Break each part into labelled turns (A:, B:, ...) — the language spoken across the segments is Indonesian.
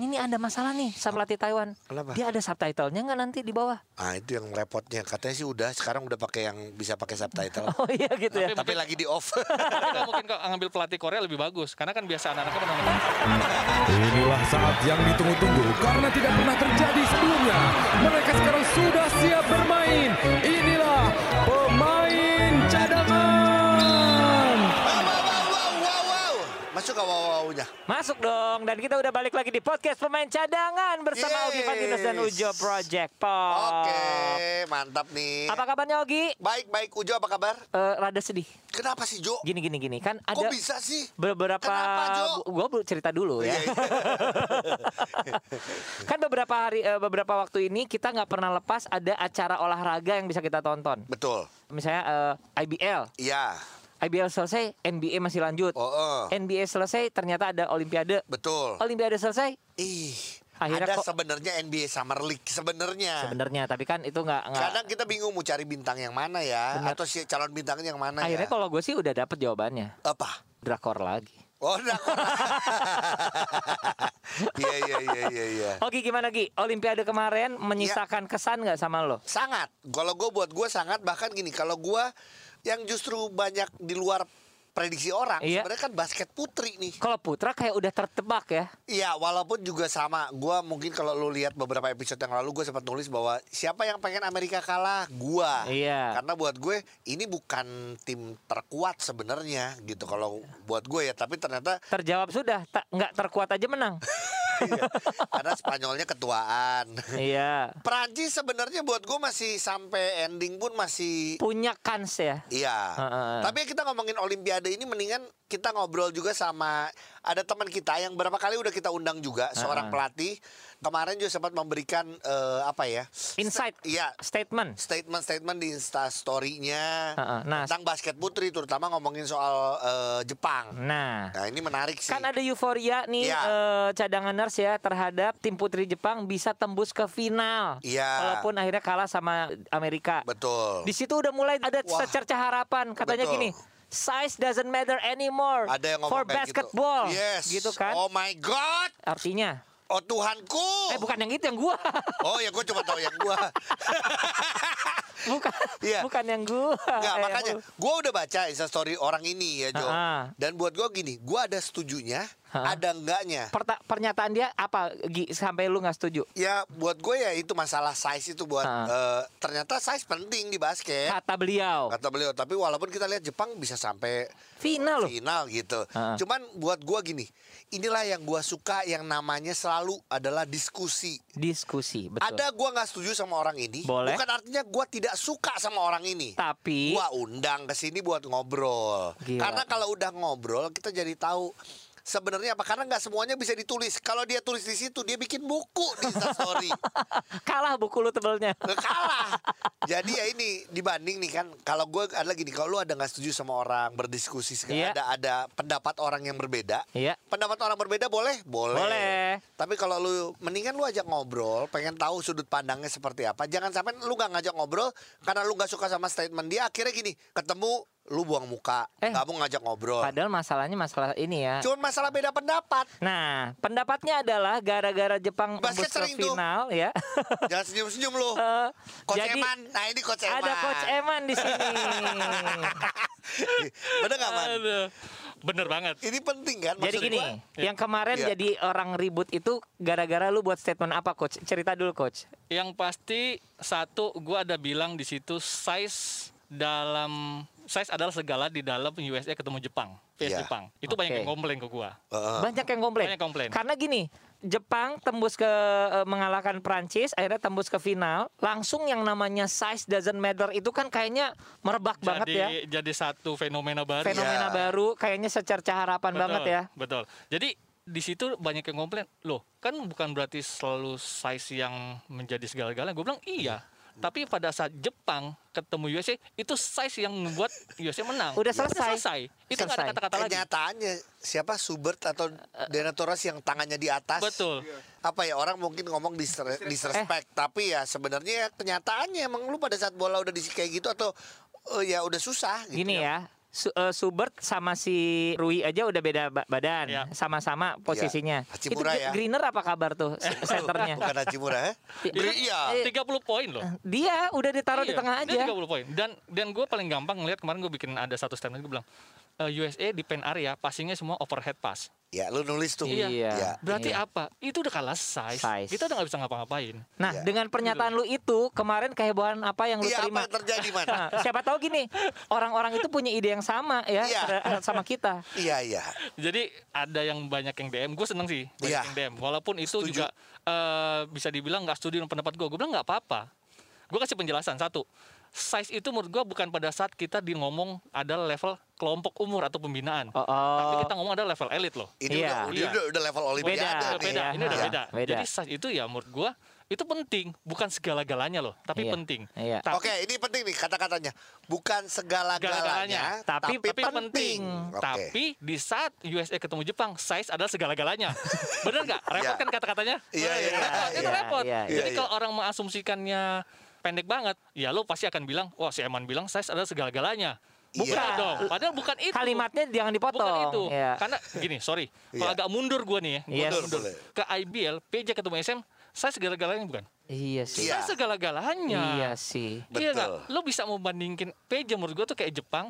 A: ini ada masalah nih sama pelatih Taiwan.
B: Kenapa?
A: Dia ada subtitlenya nggak nanti di bawah?
B: Ah itu yang repotnya katanya sih udah sekarang udah pakai yang bisa pakai subtitle.
A: Oh iya gitu ya.
B: Tapi lagi di off.
C: Tapi kalau mungkin kok ngambil pelatih Korea lebih bagus karena kan biasa anak-anaknya menonton
D: Inilah saat yang ditunggu-tunggu karena tidak pernah terjadi sebelumnya. Mereka sekarang sudah siap bermain. Inilah pemain cadangan.
B: wow, wow, wow, wow, wow. Masuk ke wow wownya.
A: Masuk dong dan kita udah balik lagi di podcast pemain cadangan bersama Ogi
B: Yes.
A: Patinus dan Ujo Project Pop.
B: Oke, mantap nih.
A: Oh. Apa kabarnya Ogi?
B: Baik, baik. Ujo apa kabar?
A: Eh, rada sedih.
B: Kenapa sih Jo?
A: Gini gini gini kan ada
B: Kok bisa sih?
A: beberapa
B: Kenapa, Jo?
A: gue belum cerita dulu ya
B: Iya, iya.
A: kan beberapa hari eh, beberapa waktu ini kita nggak pernah lepas ada acara olahraga yang bisa kita tonton
B: Betul.
A: misalnya eh, IBL
B: Iya.
A: IBL selesai NBA masih lanjut
B: Oh, oh.
A: NBA selesai ternyata ada Olimpiade
B: Betul.
A: Olimpiade
B: Eh.
A: selesai
B: Ih.
A: Oh. Akhirnya
B: ada
A: kok-
B: sebenarnya NBA Summer League sebenarnya.
A: sebenarnya tapi kan itu nggak nggak-
B: Kadang kita bingung mau cari bintang yang mana ya
A: Benar.
B: atau si calon bintangnya yang mana
A: akhirnya
B: ya.
A: kalau gue sih udah dapet jawabannya
B: Apa?
A: drakor lagi
B: Oh, nah. Iya, iya, iya, iya, iya.
A: Oke gimana Gi Olimpiade kemarin menyisakan kesan nggak sama lo
B: Sangat. Kalau gue buat gue sangat bahkan gini. Kalau gue yang justru banyak di luar prediksi orang
A: Iya.
B: sebenarnya kan basket putri nih.
A: kalau Putra kayak udah tertebak ya
B: Iya, walaupun juga sama. Gua mungkin kalau lu lihat beberapa episode yang lalu gue sempat nulis bahwa siapa yang pengen Amerika kalah? Gua.
A: Iya.
B: Ah, Karena buat gue ini bukan tim terkuat sebenarnya gitu kalau buat gue ya, tapi ternyata
A: terjawab sudah tak nggak terkuat aja menang
B: iya. karena Spanyolnya ketuaan.
A: iya
B: Perancis sebenarnya buat gue masih sampai ending pun masih
A: punya kans ya
B: Iya.
A: Heeh.
B: Tapi kita ngomongin Olimpiade ini mendingan kita ngobrol juga sama ada teman kita yang berapa kali udah kita undang juga seorang pelatih kemarin juga sempat memberikan eh, apa ya?
A: insight
B: Iya.
A: statement
B: Statement-statement di Insta story-nya
A: Heeh, nah.
B: tentang basket putri terutama ngomongin soal eh, Jepang.
A: nah
B: Nah, ini menarik sih.
A: kan ada euforia nih
B: Iya.
A: eh, cadanganers ya terhadap tim putri Jepang bisa tembus ke final
B: Iya.
A: walaupun akhirnya kalah sama Amerika
B: Betul.
A: di situ udah mulai ada
B: Wah.
A: secerca harapan katanya
B: Betul.
A: gini size doesn't matter anymore
B: Ada yang ngomong
A: for
B: kayak
A: basketball
B: gitu. Yes.
A: gitu kan
B: Oh my god.
A: artinya
B: Oh
A: eh
B: Tuhanku.
A: bukan yang itu yang gua
B: Oh ya gue cuma tahu yang gua.
A: bukan
B: Iya.
A: bukan yang gua
B: Enggak,
A: Eh, yang
B: makanya
A: lu.
B: gue udah baca instastory orang ini ya Jo
A: Ah.
B: Dan buat gue gini, gue ada setujunya,
A: Ah.
B: ada enggaknya
A: Perta- pernyataan dia apa Gi, sampai lu nggak setuju
B: Ya buat gue ya itu masalah size itu buat eh, Ternyata size penting di basket
A: kata beliau
B: Kata beliau, tapi walaupun kita lihat Jepang bisa sampai
A: final loh
B: final gitu
A: Ah.
B: Cuman buat gue gini, inilah yang gue suka yang namanya selalu adalah diskusi
A: diskusi betul
B: Ada gue nggak setuju sama orang ini
A: Boleh.
B: Bukan artinya gue tidak suka sama orang ini
A: tapi
B: gua undang ke sini buat ngobrol.
A: Gila.
B: Karena kalau udah ngobrol kita jadi tahu sebenarnya apa karena nggak semuanya bisa ditulis. Kalau dia tulis di situ dia bikin buku di Instastory.
A: kalah buku lu tebelnya
B: Nggak kalah. Jadi ya ini dibanding nih kan kalau gue ada lagi nih kalau lu ada nggak setuju sama orang berdiskusi segala
A: Iya.
B: ada ada pendapat orang yang berbeda.
A: Iya.
B: Pendapat orang berbeda boleh? Boleh.
A: Boleh.
B: Tapi kalau lu mendingan lu ajak ngobrol, pengen tahu sudut pandangnya seperti apa. Jangan sampai lu nggak ngajak ngobrol karena lu nggak suka sama statement dia. Akhirnya gini, ketemu lu buang muka,
A: Eh.
B: nggak mau ngajak ngobrol.
A: padahal masalahnya masalah ini ya
B: Cuman masalah beda pendapat.
A: nah pendapatnya adalah gara-gara Jepang tembus
B: Basket
A: ke
B: sering tuh.
A: final ya
B: Jangan senyum-senyum lu.
A: Eh,
B: Coach
A: jadi
B: Eman, nah ini Coach Eman.
A: ada coach Eman di sini
B: Bener nggak, Man?
C: Aduh, bener banget
B: Ini penting kan?
A: jadi
B: Maksud
A: gini
B: gua,
A: yang kemarin
B: Iya.
A: jadi orang ribut itu gara-gara lu buat statement apa coach cerita dulu coach
C: yang pasti satu gua ada bilang di situ size dalam size adalah segala di dalam USA ketemu Jepang PS
B: Iya.
C: Jepang itu banyak
A: Oke.
C: yang komplain ke gua
B: Heeh.
A: banyak yang komplain.
C: Banyak komplain.
A: Karena gini, Jepang tembus ke eh, mengalahkan Prancis, akhirnya tembus ke final. Langsung yang namanya size doesn't matter itu kan kayaknya merebak banget
C: jadi
A: ya.
C: jadi satu fenomena baru
A: Fenomena
B: Iya.
A: baru, kayaknya secerca harapan
C: Betul,
A: banget ya.
C: Betul. Jadi di situ banyak yang komplain, loh kan bukan berarti selalu size yang menjadi segala-galanya. Gue bilang iya. Tapi pada saat Jepang ketemu USA itu size yang membuat USA menang.
A: Udah
C: Udah
A: selesai.
C: selesai. Itu nggak ada
A: Selesai.
C: kata-kata lagi.
B: kenyataannya Eh, siapa Subert atau Denatoras yang tangannya di atas
C: Betul.
B: apa ya orang mungkin ngomong disre- disrespect tapi ya sebenarnya kenyataannya emang lu pada saat bola udah di kayak gitu atau eh, ya udah susah gitu
A: Gini ya, Su- eh, Subert sama si Rui aja udah beda ba- badan,
C: Iya.
A: sama-sama posisinya.
B: Iya. Hachimura
A: Itu
B: ya.
A: Greener apa kabar tuh centernya?
B: Bukan Hachimura ya? Beri- Iya.
A: Eh,
C: 30 poin loh.
A: Dia udah ditaruh di
C: Iya,
A: tengah
C: Dia
A: aja.
C: 30 poin. Dan dan gue paling gampang ngeliat kemarin gue bikin ada satu statement gue bilang "Eh, USA di pen area passingnya semua overhead pass.
B: Ya, lu nulis tuh.
A: Iya.
B: Ya.
C: Berarti
A: Iya.
C: apa? Itu udah kalah size.
A: Size.
C: Kita udah nggak bisa ngapa-ngapain.
A: Nah,
B: Iya.
A: dengan pernyataan lu itu kemarin kehebohan apa yang lu
B: Iya, apa
A: terima?
B: yang terjadi, Man?
A: Nah, siapa tahu gini, orang-orang itu punya ide yang sama ya
B: Iya.
A: ter- sama kita.
B: Iya, iya.
C: Jadi ada yang banyak yang DM, gue seneng sih banyak
B: Iya.
C: yang DM. Walaupun itu
B: Setuju.
C: juga eh, bisa dibilang nggak setuju dengan pendapat gue. Gue bilang nggak apa-apa. Gue kasih penjelasan satu. Size itu menurut gue bukan pada saat kita di ngomong ada level kelompok umur atau pembinaan.
A: Oh,
C: Tapi
A: oh.
C: kita ngomong ada level elit loh.
B: Ini
A: Iya.
B: udah, udah,
C: Iya.
B: udah, udah level olimpiade
A: Beda,
B: nih.
C: beda, ini udah
B: Iya.
C: beda.
A: beda.
C: Jadi size itu ya menurut gua itu penting, bukan segala-galanya loh, tapi
A: Iya,
C: penting.
A: iya.
C: Tapi
B: Oke, ini penting nih kata-katanya. Bukan segala-galanya,
C: Segala-galanya,
A: tapi-
B: tapi,
C: tapi penting.
B: Oke.
C: Tapi di saat USA ketemu Jepang, size adalah segala-galanya. Bener nggak? Repot
B: Iya.
C: kan kata-katanya?
B: Iya, iya,
C: Repot,
B: iya,
C: itu repot.
A: iya,
B: iya.
C: Jadi kalau orang mengasumsikannya pendek banget, ya lo pasti akan bilang, wah si Eman bilang size adalah segala-galanya. Bukan
B: Iya.
C: dong. Padahal bukan itu.
A: Kalimatnya jangan dipotong.
C: Bukan itu.
A: Iya.
C: Karena gini, sorry. Kalau
B: Iya.
C: agak mundur gua nih ya. gua
A: Yes.
B: Mundur,
C: mundur.
B: boleh.
C: Ke IBL, PJ ketemu SM, size segala-galanya bukan?
A: Iya sih.
B: Iya.
C: Size segala-galanya.
A: Iya sih.
C: Iya nggak?
B: Betul.
C: Lo bisa membandingin PJ menurut gue tuh kayak Jepang,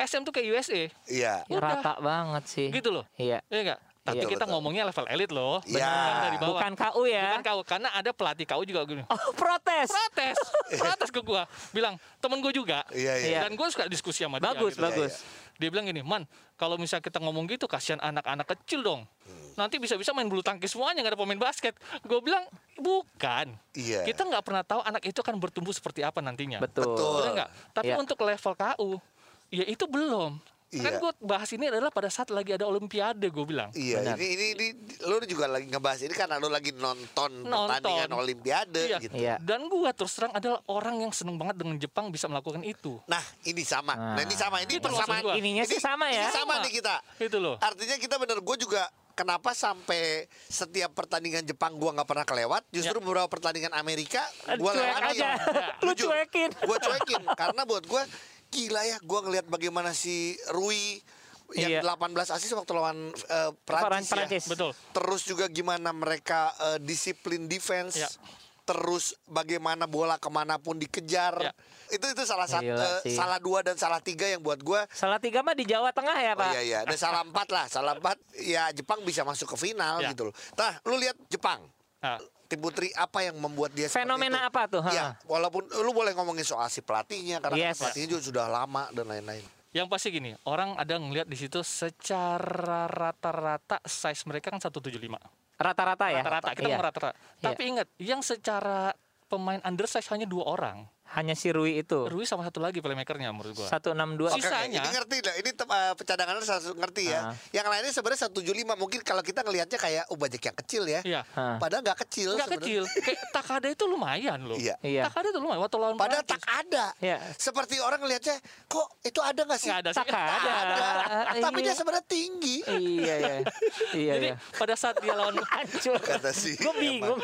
C: SM tuh kayak USA.
B: Iya.
A: Ya,
C: Udah.
A: rata banget sih.
C: Gitu loh.
A: Iya.
C: Iya nggak? Tapi
B: Betul, betul.
C: kita ngomongnya level elit loh.
B: Iya.
C: Bukan dari bawah.
A: Bukan KU ya.
C: Bukan kau, karena ada pelatih kau juga gini.
A: Oh, protes.
C: Protes, protes ke gua. Bilang, temen gue juga.
B: Iya, iya.
A: Iya.
C: Dan gue suka diskusi sama dia.
A: Bagus,
C: gitu.
A: bagus.
C: Dia bilang gini, man, kalau misalnya kita ngomong gitu, kasihan anak-anak kecil dong. Nanti bisa-bisa main bulu tangkis semuanya, nggak ada pemain basket. Gue bilang, bukan.
B: Iya.
C: Kita nggak pernah tahu anak itu akan bertumbuh seperti apa nantinya.
A: Betul.
B: Betul.
C: Bener nggak? Tapi
A: Iya.
C: untuk level KU, ya itu belum. Kan
B: Iya.
C: gue bahas ini adalah pada saat lagi ada Olimpiade, gue bilang.
B: Iya,
A: Benar.
B: ini, ini ini lu juga lagi ngebahas ini karena lu lagi nonton,
C: Nonton.
B: pertandingan olimpiade
C: Iya.
B: gitu.
A: Iya.
C: Dan gue terus terang adalah orang yang seneng banget dengan Jepang bisa melakukan itu.
B: Nah, ini sama. Nah, ini sama. Ini
C: Itu
B: persamaan.
C: maksud gua.
A: Ininya sih
B: Ini-
A: sama ya.
B: Ini sama nih kita.
C: Itu loh.
B: Artinya kita bener gue juga kenapa sampai setiap pertandingan Jepang gua nggak pernah kelewat, justru beberapa pertandingan Amerika
A: Ya.
B: gua
A: Cuek
B: lewatin.
A: aja. Lu cuekin.
B: Gue cuekin karena buat gua gila ya gua ngelihat bagaimana si Rui
A: Iya.
B: yang 18 asis waktu lawan eh, Prancis, ya.
A: Prancis.
C: Betul.
B: Terus juga gimana mereka eh, disiplin defense.
C: Ya.
B: Terus bagaimana bola kemanapun dikejar.
C: Ya.
B: Itu itu salah satu,
A: Gila
B: eh,
A: sih.
B: salah dua dan salah tiga yang buat gue.
A: Salah tiga mah di Jawa Tengah ya,
B: Oh
A: Pak.
B: iya iya, ada salah empat lah, salah empat. Ya Jepang bisa masuk ke final
A: Iya.
C: Ya.
B: gitu loh. Nah, lu lihat Jepang.
C: Nah,
B: Tim Putri apa yang membuat dia seperti
A: Fenomena
B: itu?
A: apa tuh? Ha.
B: Iya, walaupun lu boleh ngomongin soal si pelatihnya karena kan
A: Yes.
B: pelatihnya juga sudah lama dan lain-lain.
C: yang pasti gini, orang ada ngelihat di situ secara rata-rata size mereka kan 175.
A: Rata-rata ya.
C: Rata-rata, kita
A: Iya.
C: ngomong rata-rata.
A: Iya.
C: Tapi ingat, yang secara pemain undersize hanya dua orang.
A: Hanya si Rui itu.
C: Rui sama satu lagi playmakernya menurut gua.
A: 162.
C: Oke. Sisanya-
B: ini ngerti dah. Ini tem- eh, cadangannya satu ngerti ya.
A: Ah.
B: Yang lainnya sebenarnya 175 mungkin kalau kita ngelihatnya kayak oh banyak yang kecil ya.
C: Iya.
A: Ha.
B: Padahal nggak kecil
C: Nggak
B: sebenarnya.
C: kecil. Kayak Takada itu lumayan loh.
B: Iya.
A: Iya.
C: Takada itu lumayan waktu lawan
B: Padahal
C: Prancis.
B: tak ada.
A: Iya.
B: Seperti orang ngelihatnya kok itu ada nggak sih?
C: Nggak ada sih.
A: Takada.
B: Nggak ada.
A: Ah,
B: Tapi
A: iya.
B: dia sebenarnya tinggi.
A: Iya, iya. Iya,
C: Jadi
A: iya.
C: pada saat dia lawan
A: Hancur.
B: Kata si
A: Gue bingung.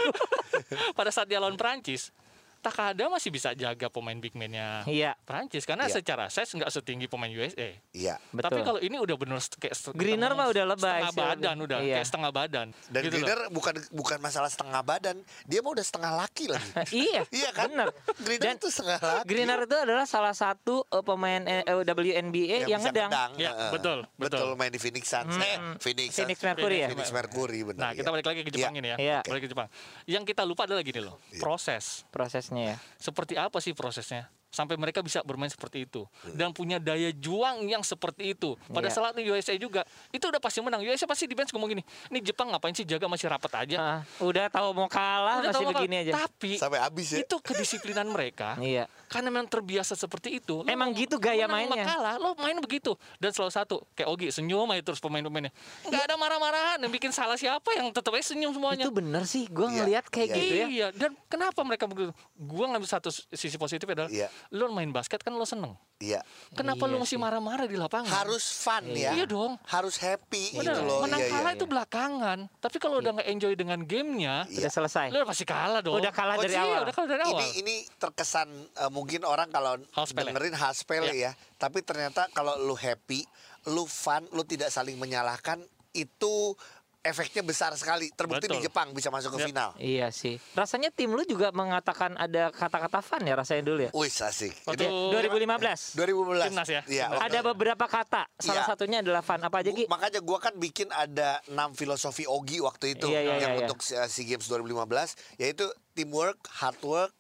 C: pada saat dia lawan Prancis, Takada masih bisa jaga pemain big man-nya
A: Iya.
C: Prancis karena
B: Iya.
C: secara size nggak setinggi pemain USA.
B: Iya.
A: Betul.
C: Tapi kalau ini udah bener st- kayak st- kita
A: Greener
C: ngomong
A: mah udah lebay
C: Setengah
A: sih,
C: badan
A: udah.
C: udah,
A: Iya.
C: kayak setengah badan.
B: Dan
C: Gitu loh.
B: Greener bukan bukan masalah setengah badan, dia mau udah setengah laki lagi.
A: iya,
B: iya kan?
A: bener.
B: Greener
A: Dan-
B: itu setengah laki.
A: Greener itu adalah salah satu eh, pemain eh, eh, WNBA yang
B: bisa
A: ngedang.
C: Ya,
B: Heeh.
C: betul, betul.
B: main di Phoenix Suns. Eh, Phoenix, Suns.
A: Phoenix Mercury ya?
B: Phoenix Mercury benar.
C: Nah, kita
B: iya.
C: balik lagi ke Jepang
B: Iya.
C: ini ya.
A: Iya.
C: Balik ke Jepang. Yang kita lupa adalah gini loh, proses.
A: Prosesnya ya.
C: Seperti apa sih prosesnya? Sampai mereka bisa bermain seperti itu
B: Iya.
C: dan punya daya juang yang seperti itu. Pada
A: Iya.
C: saat USA juga itu udah pasti menang. USA pasti di bench ngomong gini, "Ini Jepang ngapain sih jaga masih rapat aja?"
A: Ah, udah tahu mau kalah Ah, masih
C: Ya. Udah tahu bakal-
A: begini aja.
C: Tapi
B: Sampai habis ya.
C: itu kedisiplinan mereka.
A: Iya.
C: Karena memang terbiasa seperti itu. Lo
A: Emang
C: mau-
A: gitu gaya
C: menang sama
A: mainnya.
C: Kalah, lo main begitu. Dan selalu satu, kayak Ogi senyum aja terus pemain-pemainnya. Nggak ada marah-marahan yang bikin salah siapa yang tetap aja senyum semuanya.
A: Itu bener sih, gue
B: Iya,
A: ngelihat kayak
B: iya.
A: gitu ya.
C: Iya, dan kenapa mereka begitu? Gua ngambil satu s- sisi positif adalah
B: Iya.
C: Lo main basket kan lo seneng.
B: Iya.
C: Kenapa
A: Iya
C: lo
A: sih.
C: mesti marah-marah di lapangan?
B: Harus fun ya.
C: Iya dong.
B: Harus happy
C: Bener,
B: gitu loh.
C: menang
B: Iya, iya,
C: kalah
B: iya.
C: itu belakangan. Tapi kalau udah nggak enjoy dengan gamenya,
A: Udah
B: Iya.
A: selesai.
C: lo pasti kalah dong.
A: Udah kalah
C: Oh,
A: dari
C: iya,
A: awal.
C: Udah kalah dari awal.
B: Ini ini terkesan eh, mungkin orang kalau
C: House pele.
B: dengerin khas pele
C: Iya.
B: ya, tapi ternyata kalau lu happy, lu fun, lu tidak saling menyalahkan itu efeknya besar sekali. Terbukti di
C: Betul.
B: Jepang bisa masuk ke
C: Yep.
B: final.
A: Iya sih. Rasanya tim lu juga mengatakan ada kata-kata fun ya rasanya dulu ya.
B: Wih asik.
C: Waktu-
B: Ini
C: Tuh.
A: 2015.
B: 2015.
C: Timnas ya?
B: Iya.
C: Timnas.
B: waktu-
A: Ada beberapa kata. Salah
B: Iya.
A: satunya adalah fun. Apa aja Ki?
B: Gua- makanya gua kan bikin ada enam filosofi Ogi waktu itu
A: Iya, iya,
B: yang
A: iya, iya.
B: untuk uh, SEA Games 2015 yaitu teamwork, hard work,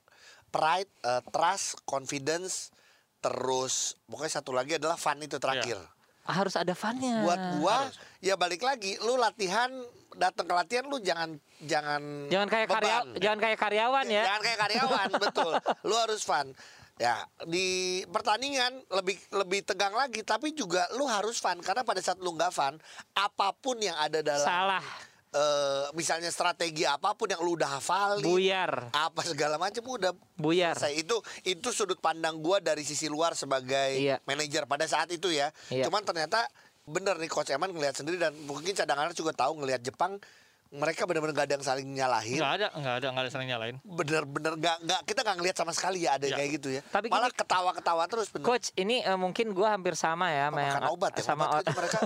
B: pride, uh, trust, confidence, terus pokoknya satu lagi adalah fun itu
C: Iya.
B: terakhir.
A: Harus ada funnya.
B: Buat gua ya balik lagi lu latihan datang ke latihan lu jangan jangan
A: Jangan kayak karya,
B: beban. Iya,
A: jangan kayak karyawan ya.
B: Jangan kayak karyawan, betul. Lu harus fun. Ya, di pertandingan lebih lebih tegang lagi tapi juga lu harus fun karena pada saat lu nggak fun, apapun yang ada dalam
A: Salah.
B: eh, misalnya strategi apapun yang lu udah hafalin,
A: Buyar.
B: apa segala macam udah
A: Buyar.
B: saya itu itu sudut pandang gua dari sisi luar sebagai
A: Iya.
B: manajer pada saat itu ya.
A: Iya.
B: Cuman ternyata bener nih coach Eman ngelihat sendiri dan mungkin cadangannya juga tahu ngelihat Jepang mereka benar-benar gak ada yang saling nyalahin
C: Nggak ada, nggak ada, nggak ada saling nyalain.
A: Nah.
B: bener-bener nggak nggak kita nggak ngelihat sama sekali ya ada yang
C: Ya.
B: kayak gitu ya.
A: Iya. Tapi gini-
B: Malah ketawa-ketawa terus bener.
A: Coach, ini eh, mungkin gua hampir sama ya
B: Apa
A: sama yang
B: makan obat ya
A: sama
B: obat
A: ot-
B: kayaknya mereka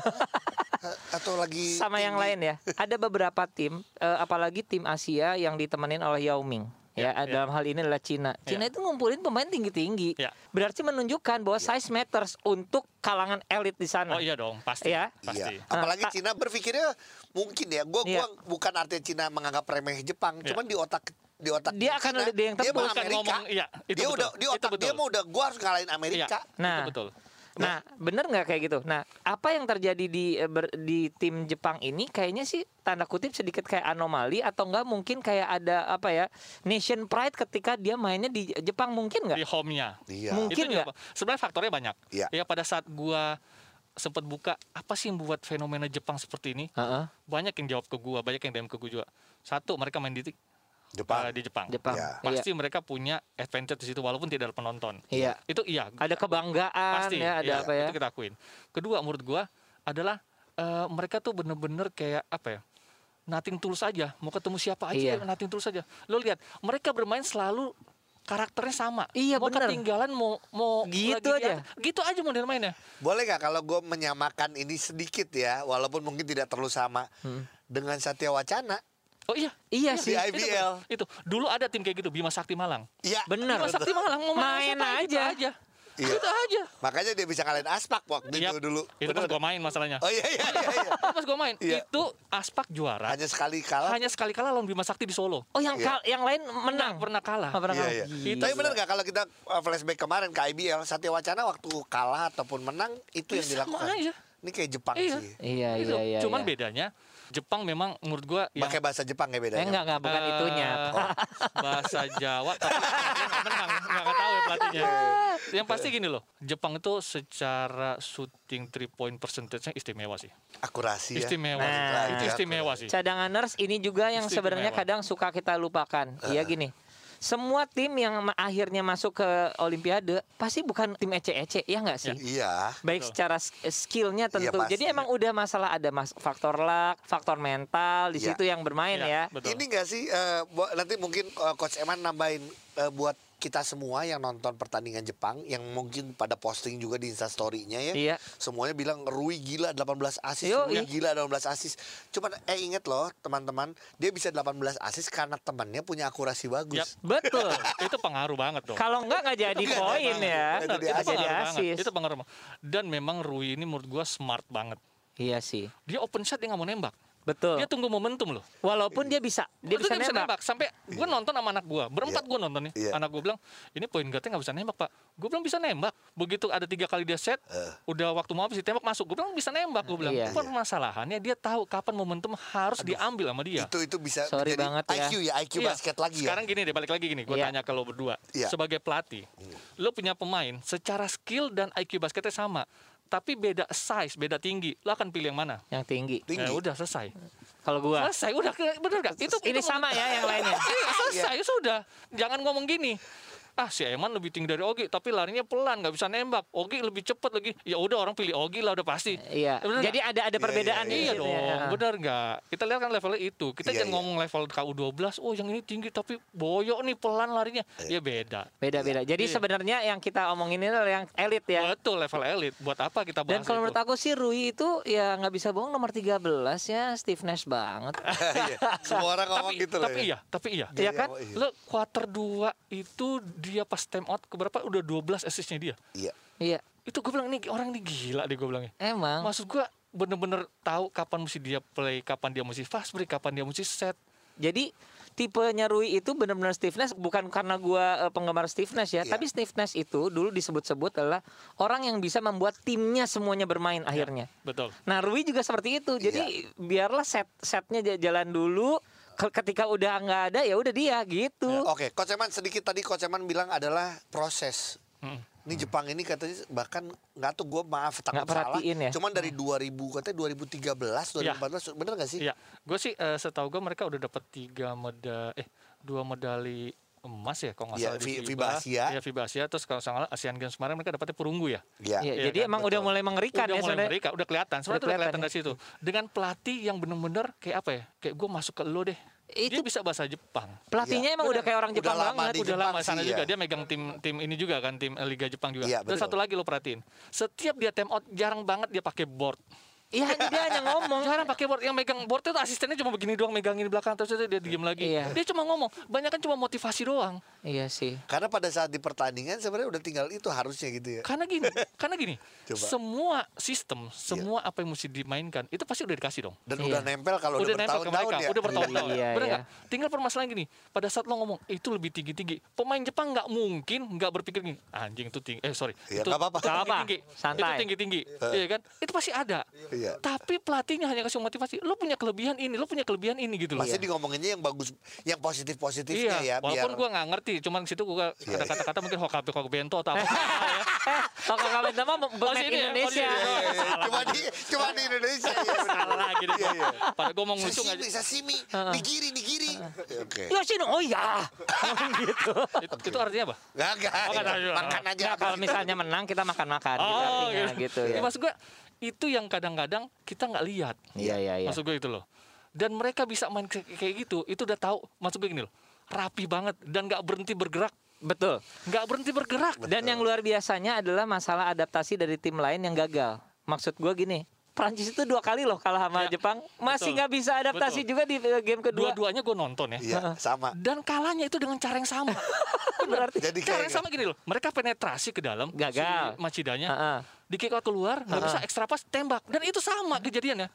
B: eh, atau lagi
A: sama yang
B: tinggi.
A: lain ya. Ada beberapa tim, eh, apalagi tim Asia yang ditemenin oleh Yao Ming. Ya,
B: Iya,
C: Ya, ya.
A: dalam hal ini adalah Cina. Cina itu ngumpulin pemain tinggi-tinggi.
B: Iya.
C: Ya.
A: Berarti menunjukkan bahwa size matters untuk kalangan elit di sana.
C: Oh iya dong, pasti.
A: Iya.
C: Pasti.
B: Iya. Apalagi
A: Nah, ta-
B: Cina berpikirnya mungkin ya. Gue
A: Iya.
B: gua bukan artinya Cina menganggap remeh Jepang,
C: Iya.
B: cuman di otak di otak
A: Dia akan
B: Cina,
A: ada dia yang
B: dia
A: tebak.
B: mau
C: Bukan
B: Amerika.
C: ngomong, iya, itu
B: dia
C: betul.
B: udah di
C: Itu
B: otak dia
C: betul.
B: mau udah gua harus ngalahin Amerika.
C: Iya,
A: Nah.
C: itu betul.
A: Nah, bener nggak kayak gitu? Nah, apa yang terjadi di eh, ber- di tim Jepang ini kayaknya sih tanda kutip sedikit kayak anomali atau enggak mungkin kayak ada apa ya nation pride ketika dia mainnya di Jepang mungkin nggak?
C: Di home-nya.
B: Iya.
A: Mungkin.
C: itu juga
A: nggak?
C: Pak. sebenarnya faktornya banyak
B: Iya.
C: ya pada saat gua sempat buka apa sih yang buat fenomena Jepang seperti ini
A: Heeh,
C: banyak yang jawab ke gua banyak yang DM ke gua juga satu mereka main di
B: Jepang.
C: eh, di Jepang
A: Jepang.
B: Iya.
A: Iya.
C: pasti mereka punya advantage di situ walaupun tidak ada penonton
A: Iya.
C: itu iya
A: Ada kebanggaan
C: pasti
A: ya, ada
C: iya,
A: apa ya?
C: itu kita akuin kedua menurut gua adalah eh, mereka tuh bener-bener kayak apa ya nating tulus aja mau ketemu siapa aja
A: Iya.
C: ya, nating tulus aja lo lihat mereka bermain selalu karakternya sama
A: Iya,
C: mau
A: bener.
C: ketinggalan mau mau
A: Gitu
C: lagi
A: aja.
C: diangkat, gitu aja model mainnya
B: Boleh nggak kalau gue menyamakan ini sedikit ya, walaupun mungkin tidak terlalu sama
A: Hmm.
B: dengan Satya Wacana.
C: oh iya
A: Iya
B: Di
A: sih.
B: IBL.
C: itu, itu dulu ada tim kayak gitu Bima Sakti Malang
B: Iya.
A: Bener.
C: Bima Sakti Malang mau
A: Main
C: main, sama siapa,
A: aja.
C: gitu aja
B: Iya.
C: gitu aja
B: Makanya dia bisa ngalahin Aspak waktu
C: Yap.
B: itu dulu.
A: Iya,
C: Iya. itu pas
B: Bener.
C: gua main masalahnya
B: Oh iya iya iya. iya.
C: pas gua main
B: Iya.
C: itu Aspak juara
B: Hanya sekali kalah.
C: hanya sekali kalah lawan Bima Sakti di Solo
A: Oh yang
B: Iya.
A: kal- yang lain menang.
C: pernah Gitu. kalah
A: Oh, pernah
B: Iya,
A: kalah.
B: iya.
A: Gila.
B: Tapi benar nggak kalau kita uh, flashback kemarin ke IBL Satya Wacana waktu kalah ataupun menang itu yang
C: Iya, sama
B: dilakukan.
C: aja.
B: Ini kayak Jepang
C: Iya.
B: sih.
A: Iya
C: Gitu.
A: iya iya.
C: Cuman
A: iya.
C: bedanya Jepang memang menurut gua yang,
B: Pakai bahasa Jepang
A: Eh
B: ya bedanya.
A: enggak enggak bukan
C: eh,
A: itunya. Oh.
C: bahasa Jawa tapi dia nggak menang nggak nggak tahu ya pelatihnya.
A: Iya.
C: Yang pasti gini loh, Jepang itu secara shooting three point percentage-nya istimewa sih.
B: Akurasi ya.
C: Istimewa.
A: Nah.
C: sih. itu istimewa sih.
A: Cadanganers ini juga yang
C: Istimewa.
A: sebenarnya kadang suka kita lupakan.
B: Eh.
A: Iya gini. Semua tim yang ma- akhirnya masuk ke Olimpiade pasti bukan tim ece-ece, ya nggak sih?
B: Iya.
A: Baik secara s- skillnya
C: Iya,
A: tentu.
B: pasti.
A: Jadi emang udah masalah ada mas faktor luck, faktor mental di
B: Iya.
A: situ yang bermain
C: Iya,
A: ya.
C: Betul.
B: Ini enggak sih eh, bu- nanti mungkin eh, coach Eman nambahin eh, buat kita semua yang nonton pertandingan Jepang yang mungkin pada posting juga di Insta story-nya ya.
A: Iya.
B: Semuanya bilang Rui gila 18 asis,
A: Yoi.
B: Rui gila 18 asis. Cuman eh inget loh teman-teman, dia bisa 18 asis karena temannya punya akurasi bagus.
C: Yap.
A: Betul.
C: itu pengaruh banget dong.
A: Kalau enggak nggak jadi
B: nggak
A: poin
B: jadi
A: ya.
B: banget.
A: Nggak
B: Nggak jadi asis.
A: jadi
C: pengaruh
A: asis.
C: banget. Itu pengaruh banget. Dan memang Rui ini menurut gua smart banget.
A: Iya sih.
C: Dia open shot dia nggak mau nembak.
A: Betul.
C: Dia tunggu momentum loh.
A: Walaupun dia bisa, dia
C: Itu
A: bisa nembak.
C: sampai gue nonton sama anak gue berempat gue nonton nih
B: Iya.
C: anak gue bilang ini poin guardnya nggak bisa nembak pak gue bilang bisa nembak begitu ada tiga kali dia set
B: Eh.
C: udah waktu mau habis ditembak masuk gue bilang bisa nembak gue bilang
A: Iya.
C: permasalahannya dia tahu kapan momentum harus diambil sama dia
B: Itu itu bisa
A: Sorry
B: menjadi
A: banget ya.
B: IQ ya, IQ
C: Iya.
B: basket lagi ya.
C: sekarang gini deh balik lagi gini gue
A: Iya.
C: tanya ke lo berdua
B: Iya. Hmm.
C: sebagai pelatih lo punya pemain secara skill dan IQ basketnya sama tapi beda size beda tinggi lo akan pilih yang mana
A: Yang tinggi.
B: tinggi.
C: Ya udah selesai
A: Kalau gua.
C: selesai udah bener gak itu
A: Ini
C: itu
A: sama ya yang lainnya.
C: Iya, selesai sudah. Jangan ngomong gini. ah si Eman lebih tinggi dari Ogi tapi larinya pelan nggak bisa nembak Ogi lebih cepat lagi ya udah orang pilih Ogi lah udah pasti
A: Iya.
C: Bener
A: Jadi
C: nggak?
A: ada ada perbedaan di
C: iya
A: situ
C: dong
A: ya.
C: benar nggak kita lihat kan levelnya itu kita
B: Iya,
C: jangan
B: iya.
C: ngomong level KU12 oh yang ini tinggi tapi boyok nih pelan larinya
B: Iya.
C: ya beda
A: Beda-beda. Jadi
C: Iya.
A: sebenarnya yang kita omongin ini adalah yang elit ya.
C: betul level elit buat apa kita bahas
A: Dan kalau
C: itu?
A: menurut aku sih Rui itu ya nggak bisa bohong nomor 13 ya Steve Nash banget.
B: Iya, Semua orang ngomong
C: tapi,
B: gitu lah.
C: tapi
B: ya.
C: iya tapi iya
A: Iya kan?
B: Iya.
C: lo quarter 2 itu dia pas time out keberapa udah 12 assistnya dia
B: Iya.
A: Iya,
C: itu gue bilang nih orang ini gila deh gue bilangnya
A: emang.
C: maksud gue bener-bener tahu kapan mesti dia play kapan dia mesti fast break kapan dia mesti set
A: Jadi tipenya Rui itu benar-benar Steve Nash bukan karena gua eh, penggemar Steve Nash ya,
B: Iya.
A: tapi Steve Nash itu dulu disebut-sebut adalah orang yang bisa membuat timnya semuanya bermain akhirnya.
C: betul
A: Nah, Rui juga seperti itu. Jadi biarlah set setnya ja- jalan dulu. Ke- Ketika udah nggak ada ya udah dia gitu.
B: Oke, Coach Eman sedikit tadi Coach Eman bilang adalah proses.
C: Mm.
B: Ini Jepang ini katanya bahkan nggak tuh gue maaf takut
A: Nggak perhatiin
B: salah.
A: ya?
B: Cuman dari 2000 katanya 2013, 2014 bener nggak sih?
C: Hmm. iya gue sih eh, setahu gue mereka udah dapat tiga meda eh dua medali emas ya kalau nggak
B: Iya,
C: salah di
B: Fi- FIBA Asia.
C: Iya, FIBA Asia terus kalau nggak salah Asian Games kemarin mereka dapatnya perunggu ya
B: Iya.
A: Ya,
C: Iya
A: jadi
C: kan,
A: emang udah
B: betul.
A: mulai mengerikan
C: udah
A: ya
C: mulai
A: sebenarnya.
C: mereka udah kelihatan
A: Udah
C: sebenarnya tuh udah kelihatan
A: kelihatan ya.
C: dari situ dengan pelatih yang bener-bener kayak apa ya kayak gue masuk ke lo deh dia
A: Itu-
C: bisa bahasa Jepang
A: Pelatihnya emang udah kayak orang
B: Udah
A: Jepang
B: lama
A: banget.
B: di
C: udah
B: Jepang
C: lama sana
B: sih,
C: juga
B: ya.
C: dia megang tim tim ini juga kan tim eh, Liga Jepang juga.
B: Iya,
C: Terus
B: betul.
C: satu lagi lo perhatiin, setiap dia time out jarang banget dia pakai board.
A: Iya, dia hanya ngomong.
C: Jarang pakai board. Yang megang board itu asistennya cuma begini doang megangin di belakang terus itu dia diem lagi.
A: Iya.
C: Dia cuma ngomong, banyak kan cuma motivasi doang.
A: Iya sih.
B: Karena pada saat di pertandingan sebenarnya udah tinggal itu harusnya gitu ya.
C: Karena gini, karena gini,
B: Coba. Iya.
C: semua sistem, semua apa yang mesti dimainkan itu pasti udah dikasih dong.
B: Dan
A: Iya.
B: udah nempel kalau udah,
C: udah nempel ke
B: bertahun-tahun
C: mereka,
B: ya.
C: udah bertahun-tahun.
A: Iya,
C: Bener
A: iya.
C: nggak? Tinggal permasalahan gini, pada saat lo ngomong itu lebih tinggi-tinggi, pemain Jepang nggak mungkin nggak berpikir gini, anjing itu tinggi, eh sorry,
B: Iya,
C: itu,
B: nggak apa-apa.
C: itu
A: Nggak apa,
C: tinggi-tinggi,
A: santai.
C: itu tinggi-tinggi, iya kan? Itu pasti ada.
B: Iya.
C: Tapi pelatihnya hanya kasih motivasi, lo punya kelebihan ini, lo punya kelebihan ini
A: Iya.
C: gitu loh.
B: Pasti dikomonginnya yang bagus, yang positif-positifnya ya.
C: Iya. walaupun
B: biar- Iya.
C: gua nggak ngerti, cuman di situ gua ada kata-kata mungkin hokabe hokbento atau apa.
A: Eh, kalau kalian sama pemain
C: sini, oh,
A: Indonesia.
C: sini.
B: Iya, iya, iya. cuma di cuma di Indonesia. Iya, benar.
C: Salah lagi deh.
B: Iya, iya.
C: Pada gua mau ngelucu aja.
B: Sashimi, sashimi, nigiri, nigiri. Oke.
A: Ya sini, oh iya. gitu.
C: Itu, itu artinya apa?
B: Nggak, nggak.
C: Oh, nggak tahu.
B: Makan aja.
A: Nggak, kalau misalnya menang kita makan-makan
C: Oh,
A: gitu artinya gitu ya.
C: Ya, maksud gue itu yang kadang-kadang kita nggak lihat.
A: Iya, iya, iya.
C: Maksud gue itu loh. Dan mereka bisa main kayak kayak gitu, itu udah tahu. Maksud gue gini loh, rapi banget dan nggak berhenti bergerak,
A: Betul.
C: nggak berhenti bergerak.
A: Dan yang luar biasanya adalah masalah adaptasi dari tim lain yang gagal. Maksud gua gini, Prancis itu dua kali loh kalah sama
C: Iya,
A: Jepang, masih
C: betul.
A: nggak bisa adaptasi
C: Betul.
A: juga di eh, game kedua.
C: Dua-duanya gue nonton ya.
B: Iya, sama.
C: Dan kalahnya itu dengan cara yang sama. Bener.
A: Berarti
B: Jadi kayak
C: cara yang sama gini loh, mereka penetrasi ke dalam,
A: Gagal.
C: si Macidanya,
A: Ha-ha.
C: di kick out keluar, nggak bisa ekstra pas tembak. Dan itu sama kejadiannya.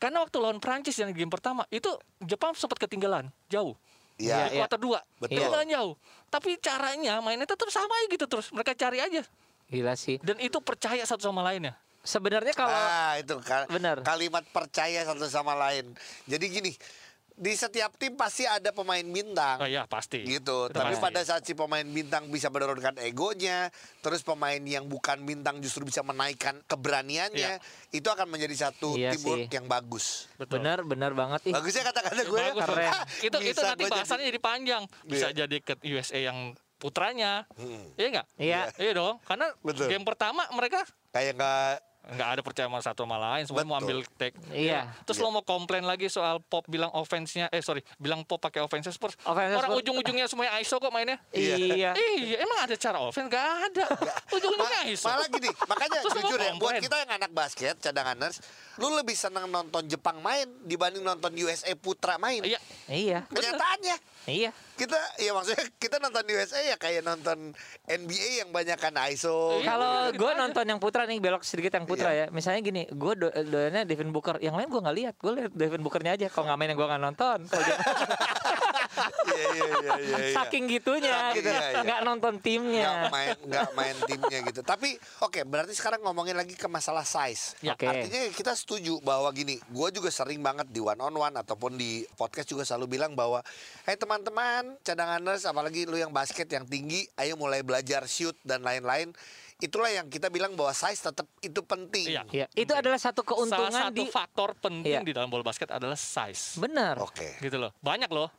C: Karena waktu lawan Prancis yang di game pertama itu Jepang sempat ketinggalan jauh.
B: Iya.
C: Di
A: Iya.
C: kuarter dua,
B: Betul.
C: ketinggalan jauh. Tapi caranya mainnya tetap sama aja gitu terus. Mereka cari aja.
A: Gila sih.
C: Dan itu percaya satu sama lainnya.
A: Sebenarnya kalau
B: Ah, itu ka-
A: Benar.
B: kalimat percaya satu sama lain. Jadi gini, di setiap tim pasti ada pemain bintang.
C: Oh iya pasti.
B: gitu
C: Itu
B: tapi
C: pasti.
B: pada saat si pemain bintang bisa menurunkan egonya terus pemain yang bukan bintang justru bisa menaikkan
C: Iya.
B: keberaniannya itu akan menjadi satu
A: Iya
B: teamwork
A: sih.
B: yang bagus
C: Betul.
A: benar benar banget ih.
B: bagusnya kata-kata gue
C: Bagus,
A: keren.
C: Bang. itu itu
B: Bisa
C: nanti
B: gua jadi-
C: bahasannya jadi, panjang. Bisa
B: Iya. Hmm.
C: jadi ke USA yang putranya. Iya enggak?
A: Iya.
C: Iya dong. Karena
B: Betul.
C: game pertama mereka
B: kayak nggak
C: nggak ada percaya sama satu sama lain semua mau ambil
B: Betul.
C: take
A: Iya.
C: terus lo mau komplain lagi soal pop bilang offense-nya eh sorry bilang pop pakai offense Spurs
A: Offense
C: orang
A: Spurs.
C: ujung-ujungnya semuanya ISO kok mainnya
B: Iya.
A: Iya.
C: iya emang ada cara offense nggak ada ujung-ujungnya
B: Ma-
C: ISO
B: malah gini makanya
C: Terus lu
B: jujur ya buat
C: komplain.
B: kita yang anak basket cadanganers lu lebih senang nonton Jepang main dibanding nonton USA Putra main
C: iya
A: Iya.
B: kenyataannya
A: Iya.
B: kita ya maksudnya kita nonton USA ya kayak nonton NBA yang banyakkan ISO
C: Iya.
A: Kalau
C: gitu
A: gue
C: aja.
A: nonton yang putra nih belok sedikit yang putra ya. Misalnya gini, gue do doyannya Devin Booker. Yang lain gue nggak lihat, gue lihat Devin Bookernya aja. Kalau nggak main yang gue nggak nonton.
C: Oh,
A: Kalau dia-
B: iya iya iya iya, iya.
A: Saking gitunya,
B: Saking,
A: gitu.
B: iya, iya.
A: nggak nonton timnya.
B: nggak main nggak main timnya gitu. Tapi oke, berarti sekarang ngomongin lagi ke masalah size.
C: Iya.
A: Ya. Oke.
B: Artinya kita setuju bahwa gini, gue juga sering banget di one on one ataupun di podcast juga selalu bilang bahwa, hey teman-teman, cadanganers apalagi lu yang basket yang tinggi, ayo mulai belajar shoot dan lain-lain. Itulah yang kita bilang bahwa size tetap itu penting.
C: Iya.
A: Iya, itu adalah satu keuntungan
C: salah satu
A: di
C: faktor penting
A: Iya.
C: di dalam bola basket adalah size
A: benar.
B: Oke.
C: gitu loh banyak loh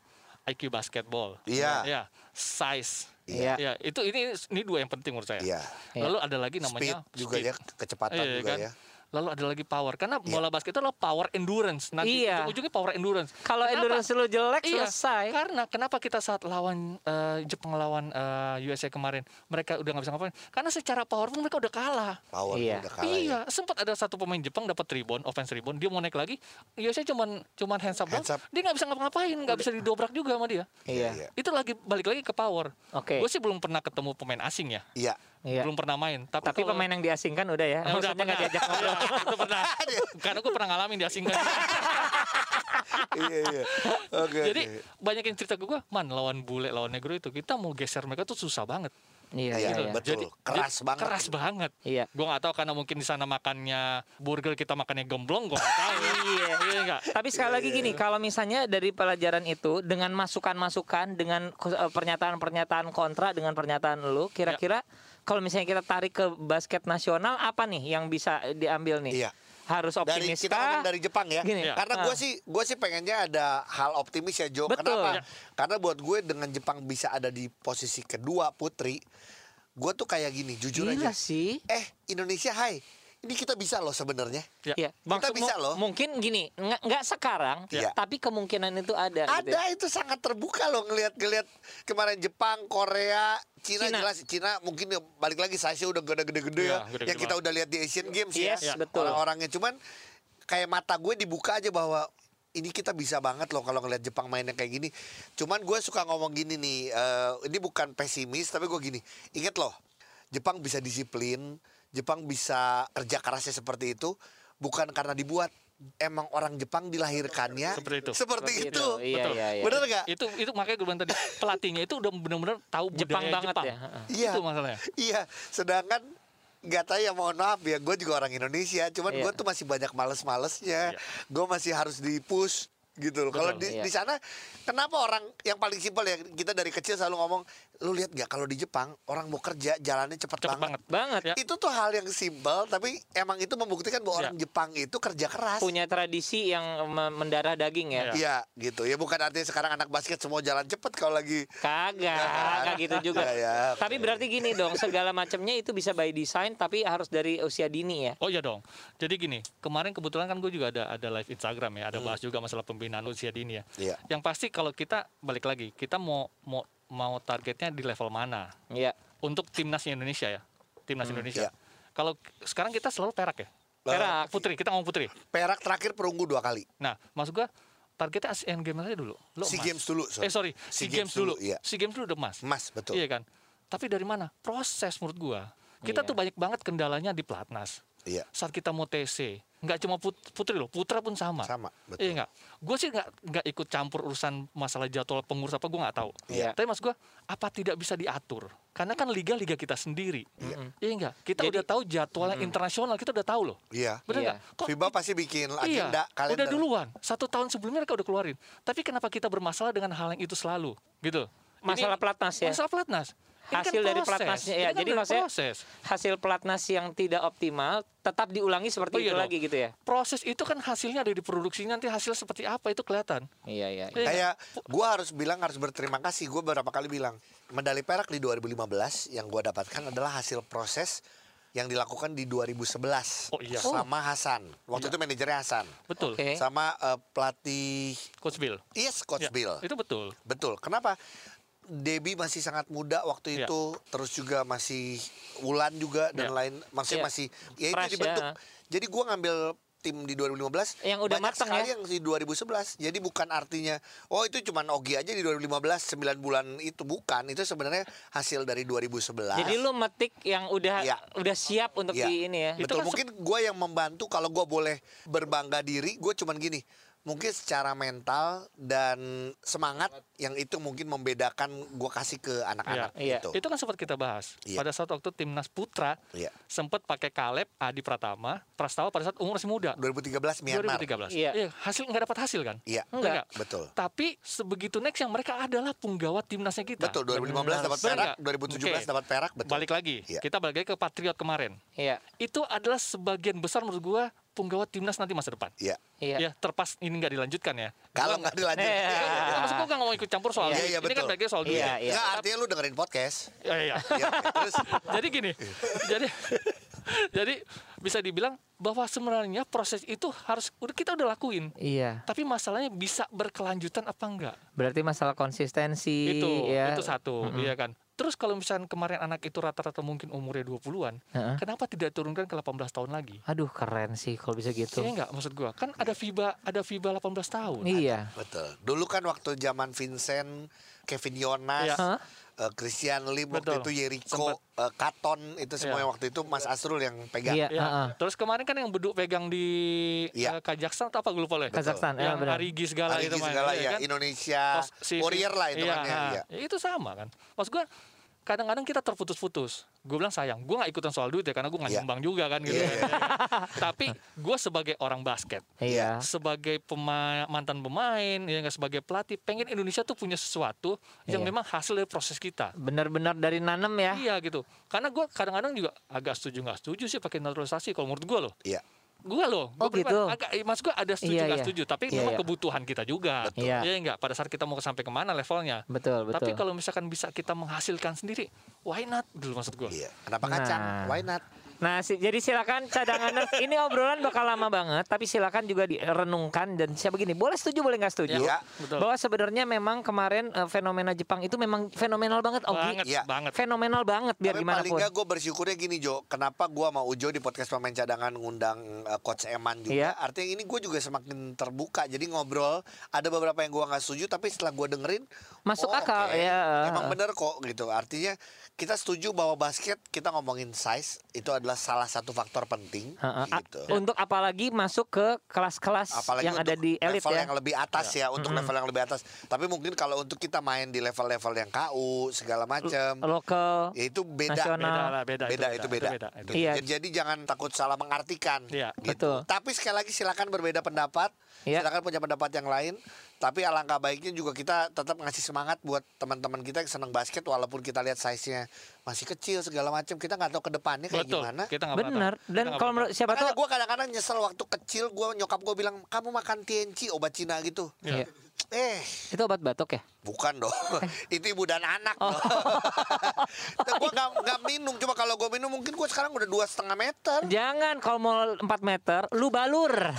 C: IQ basketball.
B: Iya.
C: Ya, size.
A: Iya.
C: Ya, itu ini ini dua yang penting menurut saya.
B: Iya.
C: Lalu ada lagi namanya
B: Speed juga ya, ke- kecepatan
C: Iya,
B: juga
C: kan?
B: ya. Iya.
C: Lalu ada lagi power karena bola basket itu adalah power endurance. Nanti
A: Iya.
C: ujung-ujungnya power endurance.
A: Kalau
C: Kenapa?
A: endurance lu jelek
C: Iya,
A: selesai.
C: Karena kenapa kita saat lawan eh, Jepang lawan eh, USA kemarin mereka udah nggak bisa ngapain? Karena secara power pun mereka udah kalah.
B: Power
A: Iya.
B: udah kalah
C: iya,
B: ya.
C: sempat ada satu pemain Jepang dapat rebound, offense rebound, dia mau naik lagi, USA cuman cuman hands up, doang.
B: Hands up.
C: Dia nggak bisa ngapa-ngapain, nggak bisa didobrak juga sama dia.
A: Iya.
B: Iya.
C: Itu lagi balik lagi ke power.
A: Oke.
C: Gue sih belum pernah ketemu pemain asing ya.
B: Iya.
A: Iya.
C: Belum pernah main, tapi,
A: Tapi
C: kalau-
A: pemain yang diasingkan udah ya.
C: Ya,
A: Maksudnya nggak diajak
C: pernah.
A: ngobrol.
C: Iya, itu pernah. Karena gue pernah ngalamin diasingkan.
B: iya, iya. Oke,
C: Jadi
B: oke.
C: banyak yang cerita ke gue, man lawan bule, lawan negro itu kita mau geser mereka tuh susah banget. Gitu.
A: Iya,
B: Iya,
A: iya, iya.
B: betul. Keras banget.
C: Keras banget.
A: Iya.
C: Gue nggak tahu karena mungkin di sana makannya burger kita makannya gemblong, gue nggak tahu. iya, iya nggak?
A: Tapi sekali lagi
B: Iya.
A: gini, kalau misalnya dari pelajaran itu dengan masukan-masukan, dengan ko- eh, pernyataan-pernyataan kontra, dengan pernyataan lu, kira-kira
C: Ya.
A: kalau misalnya kita tarik ke basket nasional apa nih yang bisa eh, diambil nih?
B: Iya.
A: Harus
B: Dari
A: optimis
B: kita ngomong
A: kah?
B: dari Jepang ya.
A: Gini.
C: Iya.
B: Karena gue
A: Ah.
B: sih gue sih pengennya ada hal optimis ya Jo.
A: Betul.
B: Kenapa?
A: Iya.
B: Karena buat gue dengan Jepang bisa ada di posisi kedua Putri, gue tuh kayak gini jujur
A: Gila Iya
B: aja.
A: sih.
B: Eh Indonesia Hai, ini kita bisa loh sebenarnya.
C: Iya.
A: Iya,
B: Kita
A: maksud-
B: bisa
A: mu-
B: loh.
A: Mungkin gini, nggak nggak sekarang,
B: Iya.
A: tapi kemungkinan itu ada. gitu ya.
B: Ada itu sangat terbuka loh ngelihat-ngelihat kemarin Jepang, Korea, Cina,
A: Cina.
B: jelas Cina mungkin ya balik lagi size udah gede-gede-gede ya.
C: Iya, gede-gede
B: yang kita
C: banget.
B: udah lihat di Asian Games
A: Yes,
B: ya.
A: betul.
B: Orang-orangnya cuman kayak mata gue dibuka aja bahwa ini kita bisa banget loh kalau ngelihat Jepang mainnya kayak gini. Cuman gue suka ngomong gini nih, eh, ini bukan pesimis tapi gue gini, inget loh, Jepang bisa disiplin, Jepang bisa kerja kerasnya seperti itu, bukan karena dibuat. Emang orang Jepang dilahirkannya
C: Seperti itu.
B: Seperti
A: Seperti
B: itu.
A: itu, iya,
B: Betul.
A: iya, iya.
B: Bener nggak?
C: Itu itu makanya gue bilang tadi pelatihnya itu udah benar-benar tahu
A: Jepang
C: budaya
A: banget
C: Jepang.
A: ya, heeh.
B: Iya.
C: Itu masalahnya.
B: Iya, sedangkan nggak tahu ya mohon maaf ya, gue juga orang Indonesia, cuman
A: Iya.
B: gue tuh masih banyak males-malesnya,
C: Iya.
B: gue masih harus di-push gitu loh. Kalau
C: Betul,
B: di,
A: iya.
B: di sana, kenapa orang yang paling simpel ya kita dari kecil selalu ngomong, lu lihat nggak kalau di Jepang orang mau kerja jalannya cepet,
C: Cepet
B: banget.
C: banget.
A: Banget. Iya.
C: Ya.
B: Itu tuh hal yang simpel, tapi emang itu membuktikan bahwa
C: Iya.
B: orang Jepang itu kerja keras.
A: Punya tradisi yang me- mendarah daging ya.
C: Iya.
B: Iya, gitu. Ya bukan artinya sekarang anak basket semua jalan cepet kalau lagi Iya,
A: Kagak, kagak gitu juga.
B: Ya, ya, oke.
A: Tapi berarti gini dong, segala macamnya itu bisa by design, tapi harus dari usia dini ya.
C: Oh iya dong. Jadi gini, kemarin kebetulan kan gue juga ada ada live Instagram ya, ada bahas juga masalah pembinaan usia dini ya.
B: Hmm. Iya.
C: Yang pasti kalau kita balik lagi, kita mau mau mau targetnya di level mana
A: Iya.
C: untuk timnas Indonesia ya, timnas Indonesia.
B: iya.
C: Kalau sekarang kita selalu perak ya,
A: Perak.
C: putri kita ngomong putri.
B: Perak terakhir perunggu dua kali.
C: Nah, maksud gue targetnya Asian Games aja dulu. Lo
B: SEA
C: emas.
B: Games dulu, sorry.
C: Eh sorry,
B: SEA
C: SEA
B: Games
C: Games dulu.
B: dulu, iya.
C: SEA Games dulu udah emas.
B: Emas, betul.
C: Iya kan. Tapi dari mana? Proses menurut gua. Kita
A: Iya.
C: tuh banyak banget kendalanya di pelatnas.
B: Iya.
C: Saat kita mau TC, nggak cuma put- putri loh, putra pun sama.
B: Sama, betul.
C: Iya nggak. Gue sih nggak nggak ikut campur urusan masalah jadwal pengurus apa gua nggak tahu.
A: Iya.
C: Tapi mas gua, apa tidak bisa diatur? Karena kan liga-liga kita sendiri. Iya. nggak. Kita
A: Jadi-
C: udah tahu jadwalnya internasional, kita udah tahu loh.
B: Iya.
C: Bener
A: Iya.
C: nggak? Kok
B: FIBA pasti bikin
C: Iya,
B: agenda kalender.
C: udah duluan. Satu tahun sebelumnya mereka udah keluarin. Tapi kenapa kita bermasalah dengan hal yang itu selalu? Gitu. Ini-
A: Masalah pelatnas ya?
C: Masalah pelatnas. Ini kan
A: Hasil dari
C: proses.
A: pelatnasnya
C: Ini
A: ya.
C: kan
A: Jadi
C: dari
A: maksudnya
C: proses.
A: hasil pelatnas yang tidak optimal tetap diulangi seperti
C: Oh,
A: itu
C: iya dong.
A: lagi gitu ya.
C: Proses itu kan hasilnya ada di produksi nanti hasilnya seperti apa itu kelihatan.
A: Iya, iya.
C: Iya.
B: Kayak gue harus bilang harus berterima kasih. Gue berapa kali bilang medali perak di 2015 yang gue dapatkan adalah hasil proses yang dilakukan di 2011
C: Oh, iya.
B: sama Hasan. Waktu itu manajernya Hasan.
C: Betul.
A: Oke.
B: Sama eh, pelatih iya,
C: Coach Bill.
B: Yes Coach
C: Ya,
B: Bill.
C: Itu betul.
B: Betul. Kenapa? Debbie masih sangat muda waktu
C: Iya.
B: itu, terus juga masih Wulan juga dan
C: Iya.
B: lain, maksudnya
A: Iya.
B: masih ya itu
A: Fresh,
B: dibentuk.
A: ya.
B: Jadi gua ngambil tim di 2015
A: Yang udah
B: banyak
A: mateng,
B: sekali
A: ya.
B: yang di 2011. Jadi bukan artinya oh itu cuman Ogi aja di 2015 9 bulan itu bukan. Itu sebenarnya hasil dari 2011.
A: Jadi lu metik yang udah
B: Iya.
A: udah siap untuk
B: Iya.
A: di ini ya.
C: Itu
B: Betul,
C: kan se-
B: mungkin gue yang membantu kalau gue boleh berbangga diri, gue cuman gini, mungkin secara mental dan semangat yang itu mungkin membedakan gue kasih ke anak-anak
A: Iya.
B: gitu.
C: Itu kan sempat kita bahas.
B: Iya.
C: Pada saat waktu timnas putra
B: Iya.
C: sempat pakai Kaleb Adi Pratama, Prastawa pada saat umur masih muda.
B: 2013 Myanmar.
C: 2013.
A: Iya.
C: hasil nggak dapat hasil kan?
B: Iya.
A: Enggak.
B: Betul.
C: Tapi sebegitu next yang mereka adalah penggawa timnasnya kita.
B: Betul, 2015 dapat
C: Benar
B: perak,
C: nggak?
B: 2017
C: Oke.
B: dapat perak, betul.
C: Balik lagi,
B: Iya.
C: kita balik lagi ke Patriot kemarin.
A: Iya.
C: Itu adalah sebagian besar menurut gua punggawa timnas nanti masa depan.
B: Iya.
A: Iya.
C: Ya, terpas ini nggak dilanjutkan ya.
B: Kalau nggak dilanjut.
A: Eh,
B: Iya, iya.
C: Nah, maksud gue nggak mau ikut campur soal
B: Iya,
C: duit.
B: iya,
C: ini kan
B: betul.
C: baiknya soal duit.
A: Iya,
C: ya.
A: iya.
B: Nggak, artinya lu dengerin podcast.
C: Iya, iya.
B: Iya, terus
C: jadi gini, jadi jadi bisa dibilang bahwa sebenarnya proses itu harus udah kita udah lakuin.
A: Iya.
C: Tapi masalahnya bisa berkelanjutan apa enggak?
A: Berarti masalah konsistensi
C: Itu
A: ya.
C: itu satu, iya kan. Terus kalau misalnya kemarin anak itu rata-rata mungkin umurnya 20-an,
A: Heeh.
C: kenapa tidak turunkan ke 18 tahun lagi?
A: Aduh keren sih kalau bisa gitu.
C: Iya enggak maksud gua kan ada FIBA ada FIBA 18 tahun.
A: Iya.
B: betul. Dulu kan waktu zaman Vincent, Kevin Yonas,
C: Iya.
A: Hah?
B: eh, Christian Lim waktu
C: Betul.
B: itu Jericho, eh, Katon itu semua
C: Iya.
B: yang waktu itu Mas Asrul yang pegang.
A: Iya.
C: Ya.
A: heeh.
C: Terus kemarin kan yang beduk pegang di
B: Iya.
C: eh, Kazakhstan atau apa gue lupa loh. ya?
A: Kazakhstan. ya,
C: Yang
A: benar.
C: Arigi segala
B: Aligi
C: gitu kan.
B: segala
C: Iya
B: ya,
C: kan?
B: Indonesia,
C: Terus si-
B: Warrior lah itu
C: iya,
B: kan ya.
C: ah.
B: Iya.
C: Ya, Itu sama kan. Maksud gua kadang-kadang kita terputus-putus. Gue bilang sayang, gue nggak ikutan soal duit ya karena gue nggak
B: Iya.
C: nyumbang juga kan gitu.
B: Iya,
C: kan,
B: iya.
C: ya kan. Tapi gue sebagai orang basket,
A: Iya.
C: sebagai pema- mantan pemain, ya nggak sebagai pelatih, pengen Indonesia tuh punya sesuatu yang
A: Iya.
C: memang hasil dari proses kita.
A: Benar-benar dari nanem ya.
C: Iya gitu. Karena gue kadang-kadang juga agak setuju nggak setuju sih pakai naturalisasi. Kalau menurut gue loh,
B: Iya.
C: gue loh. Gua
A: Oh, gitu.
C: pribadi Agak, eh, maksud gue ada setuju
A: Iya,
C: nggak
A: iya.
C: setuju. Tapi
A: Iya,
C: memang
A: iya.
C: kebutuhan kita juga.
B: Betul.
A: Iya.
C: Iya nggak. Pada saat kita mau sampai kemana levelnya.
A: Betul, betul.
C: Tapi kalau misalkan bisa kita menghasilkan sendiri, why not? Dulu maksud gue.
B: Iya. Kenapa
A: Nah.
B: kacang? Why not?
A: Nah, si- jadi silakan cadangan ini obrolan bakal lama banget, tapi silakan juga direnungkan dan siapa gini, boleh setuju boleh nggak setuju?
B: Iya.
C: Betul.
A: Bahwa sebenarnya memang kemarin eh, fenomena Jepang itu memang fenomenal banget, Ogi.
C: Banget,
B: Iya.
C: banget.
A: Fenomenal banget biar
B: Tapi
A: gimana
B: paling
A: pun.
B: nggak gue bersyukurnya gini Jo, kenapa gue mau Ujo di podcast pemain cadangan ngundang eh, coach Eman
A: Iya.
B: juga. Artinya ini gue juga semakin terbuka, jadi ngobrol ada beberapa yang gue nggak setuju, tapi setelah gue dengerin
A: Masuk
B: oh,
A: akal,
B: oke.
A: ya.
B: Emang bener kok gitu. Artinya kita setuju bahwa basket kita ngomongin size itu adalah salah satu faktor penting
A: Heeh. A-
B: gitu.
A: Untuk apalagi masuk ke kelas-kelas
B: Apalagi
A: yang ada
B: untuk
A: di elit
B: level
A: ya.
B: yang lebih atas ya, untuk level yang lebih atas. Tapi mungkin kalau untuk kita main di level-level yang KU segala macam,
C: Iya.
A: Lokal.
B: ya itu beda.
A: Oh. Nasional.
C: Beda lah, beda.
B: beda itu beda.
C: itu
B: Gitu.
A: Iya.
B: Jadi- Jadi jangan takut salah mengartikan. Gitu.
C: Iya.
A: Betul.
B: Tapi sekali lagi silakan berbeda pendapat,
A: Iya.
B: silakan punya pendapat yang lain. Tapi alangkah baiknya juga kita tetap ngasih semangat buat teman-teman kita yang senang basket walaupun kita lihat size-nya masih kecil segala macam. Kita nggak tahu ke depannya kayak
C: Betul.
B: gimana.
C: Kita nggak pernah
A: Benar.
C: tahu.
A: Dan
C: Kita
A: kalau
C: nggak pernah
A: menurut siapa
B: Makanya
A: tahu
B: gue kadang-kadang nyesel waktu kecil gue nyokap gue bilang kamu makan TNC obat Cina gitu.
A: Iya.
B: Eh
A: itu obat batuk ya?
B: Bukan dong, itu ibu dan anak
A: Oh.
B: dong. gue gak, nggak minum, cuma kalau gue minum mungkin gue sekarang udah dua setengah meter.
A: Jangan kalau mau 4 meter, lu balur.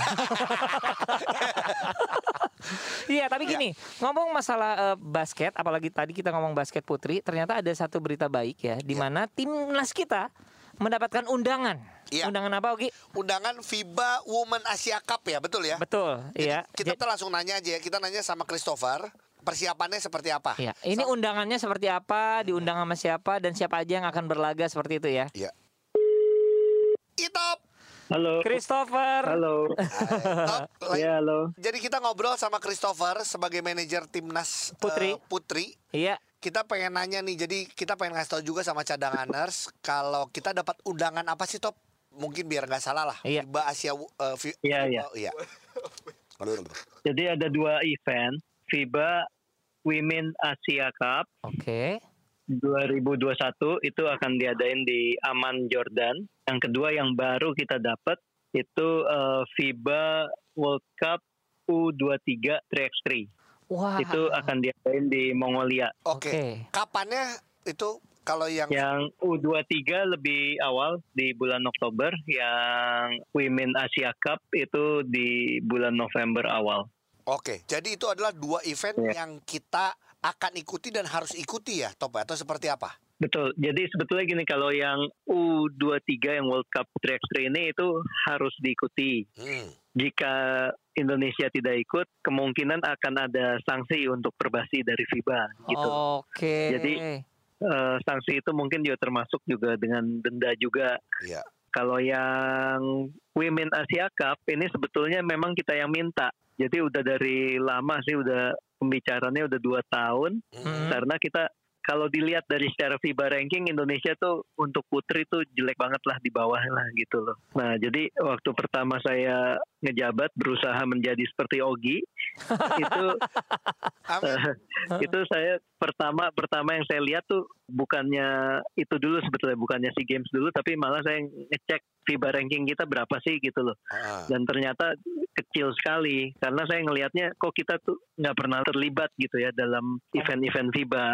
A: Iya, tapi gini, ngomong masalah eh, basket, apalagi tadi kita ngomong basket putri, ternyata ada satu berita baik ya, di mana timnas kita mendapatkan undangan.
B: Iya.
A: Undangan apa, Ogi?
B: Undangan FIBA Women Asia Cup ya, betul ya?
A: Betul, iya.
B: Kita
A: Ja-
B: tuh langsung nanya aja ya, kita nanya sama Christopher, persiapannya seperti apa?
A: Iya, ini
B: Sama-
A: undangannya seperti apa, diundang sama siapa dan siapa aja yang akan berlaga seperti itu ya.
B: Iya. Itop!
E: Halo.
A: Christopher.
E: Halo.
B: Top.
A: Iya.
E: Ya, halo.
B: Jadi kita ngobrol sama Christopher sebagai manajer timnas eh,
A: Putri.
B: Putri.
A: Iya.
B: Kita pengen nanya nih, jadi kita pengen ngasih tahu juga sama cadanganers kalau kita dapat undangan apa sih Top? Mungkin biar nggak salah lah.
A: Iya.
B: FIBA Asia eh, Fi-
E: Iya, iya.
B: Oh, iya.
E: Jadi ada dua event, FIBA Women Asia Cup
A: Oke.
E: 2021 itu akan diadain di Amman Jordan. Yang kedua yang baru kita dapat itu eh, FIBA World Cup U23 3x3.
A: Wah.
E: Itu eh, akan diadain di Mongolia.
B: Oke.
A: Oke.
B: Kapannya itu kalau yang
E: Yang U23 lebih awal di bulan Oktober, yang Women Asia Cup itu di bulan November awal.
B: Oke, jadi itu adalah dua event
E: Iya.
B: yang kita akan ikuti dan harus ikuti ya, Top atau seperti apa?
E: Betul. Jadi sebetulnya gini kalau yang U23 yang World Cup 3x3 ini itu harus diikuti.
B: Hmm.
E: Jika Indonesia tidak ikut, kemungkinan akan ada sanksi untuk perbasi dari FIBA gitu.
A: Oh. Oke.
E: Jadi- Eh, sanksi itu mungkin juga termasuk juga dengan denda juga.
B: Iya.
E: Kalau yang Women Asia Cup ini sebetulnya memang kita yang minta. Jadi udah dari lama sih udah pembicaranya udah dua tahun
B: Hmm.
E: karena kita kalau dilihat dari secara FIBA ranking Indonesia tuh untuk putri tuh jelek banget lah di bawah lah gitu loh. Nah jadi waktu pertama saya ngejabat berusaha menjadi seperti Ogi itu
B: Amin.
E: Eh, itu saya pertama pertama yang saya lihat tuh bukannya itu dulu sebetulnya bukannya si games dulu tapi malah saya ngecek FIBA ranking kita berapa sih gitu loh
B: Ah,
E: dan ternyata kecil sekali karena saya ngelihatnya kok kita tuh nggak pernah terlibat gitu ya dalam event-event FIBA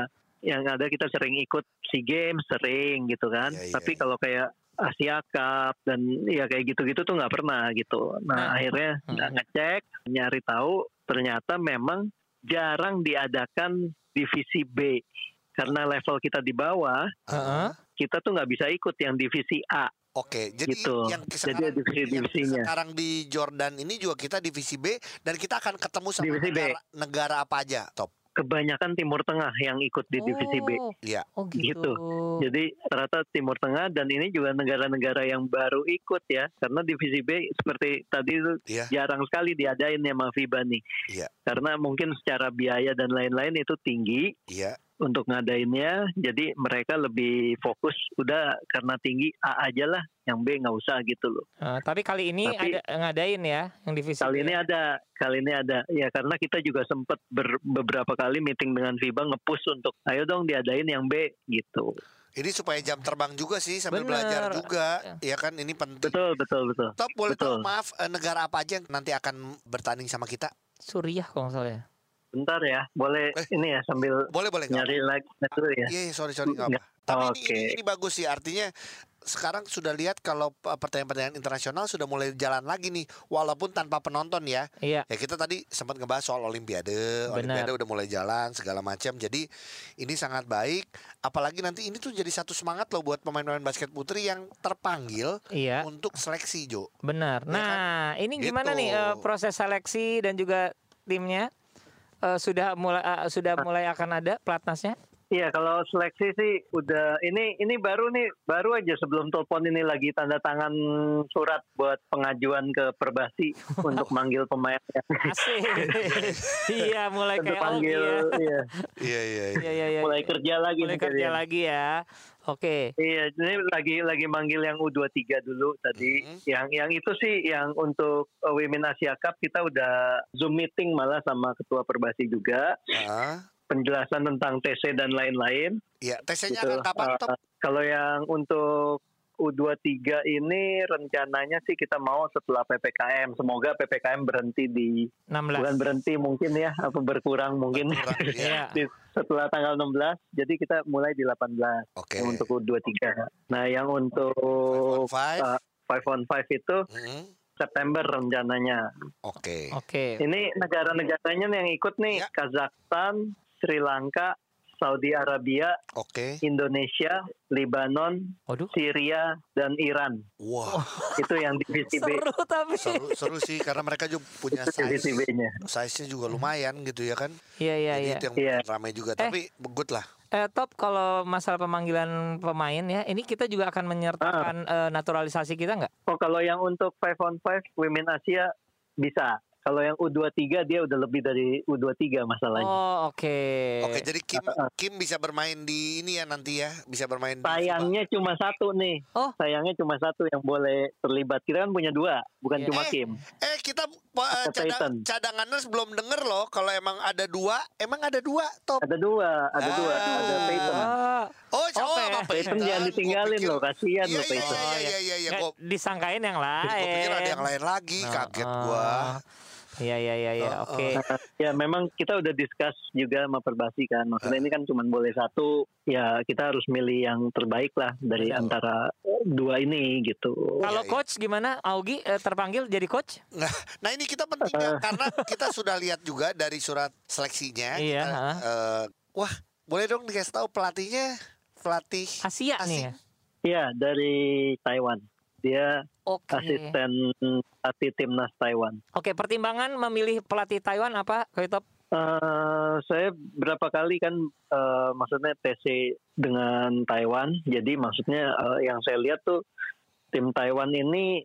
E: yang ada kita sering ikut si games sering gitu kan
B: Iya, iya,
E: tapi
B: iya.
E: kalau kayak Asia Cup dan ya kayak gitu-gitu tuh nggak pernah gitu
A: Nah.
E: nah, akhirnya
A: Mm-mm.
E: ngecek nyari tahu ternyata memang jarang diadakan divisi B karena level kita di bawah
A: Heeh.
E: kita tuh nggak bisa ikut yang divisi A
B: Oke, jadi
E: Gitu.
B: yang
E: Jadi
B: sekarang,
E: ada divisi-divisinya.
B: yang sekarang di Jordan ini juga kita divisi B dan kita akan ketemu sama
E: Divisi B.
B: negara, negara apa aja, top.
E: kebanyakan Timur Tengah yang ikut di divisi B
A: Oh.
B: Iya.
A: Oh gitu.
E: Gitu. Jadi rata Timur Tengah dan ini juga negara-negara yang baru ikut ya karena divisi B seperti tadi itu
B: Iya.
E: jarang sekali diadain ya sama FIBA nih.
B: Iya.
E: Karena mungkin secara biaya dan lain-lain itu tinggi
B: Iya.
E: untuk ngadainnya jadi mereka lebih fokus udah karena tinggi A aja lah yang B nggak usah gitu loh.
A: Nah, tapi kali ini
E: Tapi-
A: ada ngadain ya yang divisi.
E: Kali
A: B.
B: Iya.
E: ini ada, kali ini ada. Ya karena kita juga sempat ber- beberapa kali meeting dengan FIBA ngepush untuk ayo dong diadain yang B gitu.
B: Ini supaya jam terbang juga sih sambil
A: Bener.
B: belajar juga, ya kan? Ini penting.
E: Iya. Betul, betul, betul.
B: Top boleh tahu
E: Betul.
B: maaf eh, negara apa aja yang nanti akan bertanding sama kita?
A: Suriah kalau nggak salah ya.
E: Bentar ya, boleh
B: Eh.
E: ini ya sambil
B: Boleh boleh nggak?
E: nyari lagi dulu ya.
B: Iya, iya, sorry, sorry, nggak apa.
E: Nggak.
B: Tapi ini-
E: Oke.
B: ini, ini, bagus sih, artinya sekarang sudah lihat kalau uh, pertandingan-pertandingan internasional sudah mulai jalan lagi nih, walaupun tanpa penonton ya.
A: Iya.
B: Ya kita tadi sempat ngebahas soal Olimpiade, Olimpiade udah mulai jalan segala macam. Jadi ini sangat baik, apalagi nanti ini tuh jadi satu semangat loh buat pemain-pemain basket putri yang terpanggil
A: Iya.
B: untuk seleksi Jo.
A: Benar.
B: Ya
A: Nah, ini gimana
B: Gitu.
A: nih eh, proses seleksi dan juga timnya Eh, sudah mulai eh, sudah
E: Ah.
A: mulai akan ada pelatnasnya?
E: Iya, kalau seleksi sih udah ini ini baru nih baru aja sebelum telepon ini lagi tanda tangan surat buat pengajuan ke Perbasi untuk manggil pemainnya.
A: Asik. iya, mulai
E: Untuk
A: kayak oh
E: panggil,
A: iya.
E: iya.
B: Iya iya.
A: Iya, iya, iya.
E: mulai kerja lagi.
A: Mulai
E: nih
A: kerja
E: kalian.
A: lagi ya. Oke.
E: Iya, jadi lagi lagi manggil yang U23 dulu tadi.
A: Mm-hmm.
B: Mhm.
E: Yang yang itu sih yang untuk uh, Women Asia Cup kita udah Zoom meeting malah sama ketua Perbasi juga, penjelasan tentang TC dan lain-lain.
B: Iya, TC-nya
E: Gitu.
B: akan kapan
E: Eh,
B: top?
E: Kalau yang untuk U23 ini rencananya sih kita mau setelah PPKM. Semoga PPKM berhenti di
A: 16.
E: bukan berhenti mungkin ya apa berkurang mungkin
B: Kurang,
A: Iya.
B: ya.
E: Di- setelah tanggal 16. Jadi kita mulai di 18
B: Oke.
E: yang untuk U23. Nah, yang
B: Five on
E: untuk
B: five.
E: eh, five on five itu
B: Mm,
E: September rencananya.
B: Oke.
A: Oke.
E: Ini negara-negaranya yang ikut nih
B: Ya.
E: Kazakhstan, Sri Lanka, Saudi Arabia,
B: Oke.
E: Indonesia, Libanon,
A: Waduh.
E: Syria dan Iran.
B: Wah,
E: Itu yang divisi B.
A: Seru tapi.
B: seru, seru sih karena mereka juga punya
E: Itu divisi
B: size.
E: B-nya.
B: Size-nya juga lumayan gitu ya kan.
A: Iya, iya,
B: Jadi
A: iya.
B: itu yang
E: Hmm. Iya.
B: ramai juga,
A: Eh.
B: tapi good lah.
A: Eh, top kalau masalah pemanggilan pemain ya, ini kita juga akan menyertakan
B: Ah.
A: eh, naturalisasi kita nggak?
E: Oh, kalau yang untuk five on five women Asia bisa. Kalau yang U23 dia udah lebih dari U23 masalahnya.
A: Oh, oke.
B: Oke, jadi Kim Kim bisa bermain di ini ya nanti ya, bisa bermain di
E: Sayangnya cuma satu nih.
A: Oh.
E: Sayangnya cuma satu yang boleh terlibat. Kita kan punya dua, bukan
A: Iya.
E: cuma
B: Eh.
E: Kim.
B: FIBA. Eh, kita eh,
E: Kata Ethan.
B: cadang, cadanganers belum denger loh kalau emang ada dua, emang ada dua top.
E: Ada dua, ada dua,
B: Ah.
E: ada Peyton.
A: Ah.
B: Oh, oh,
A: Pe.
B: apa
E: Peyton jangan ditinggalin loh,
B: Iya,
E: kasihan
B: iya,
E: loh
B: iya,
E: Peyton.
B: iya, iya, iya, iya.
A: Nggak,
B: Gua,
A: eh, disangkain yang lain.
B: gua pikir ada yang lain lagi,
A: Nah,
B: kaget
A: ah.
B: gua.
A: Iya iya iya iya.
B: Oh,
A: Oke.
E: Ya memang kita udah discuss juga sama Perbasi kan. Maksudnya ini kan cuma boleh satu. Ya kita harus milih yang terbaik lah dari
B: Betul.
E: antara dua ini gitu.
A: Kalau
B: iya.
A: coach gimana? Augie eh, terpanggil jadi coach?
B: Nah, nah ini kita penting ya, karena kita sudah lihat juga dari surat seleksinya.
A: Iya,
B: kita,
A: ha.
B: eh, wah, boleh dong dikasih tahu pelatihnya, pelatih
A: Asia
B: Asik.
A: nih ya.
E: Iya dari Taiwan. Dia
A: Oke.
E: asisten pelatih timnas Taiwan.
A: Oke, pertimbangan memilih pelatih Taiwan apa? Koi Top?
E: Eh, saya berapa kali kan eh, maksudnya TC dengan Taiwan. Jadi maksudnya eh, yang saya lihat tuh tim Taiwan ini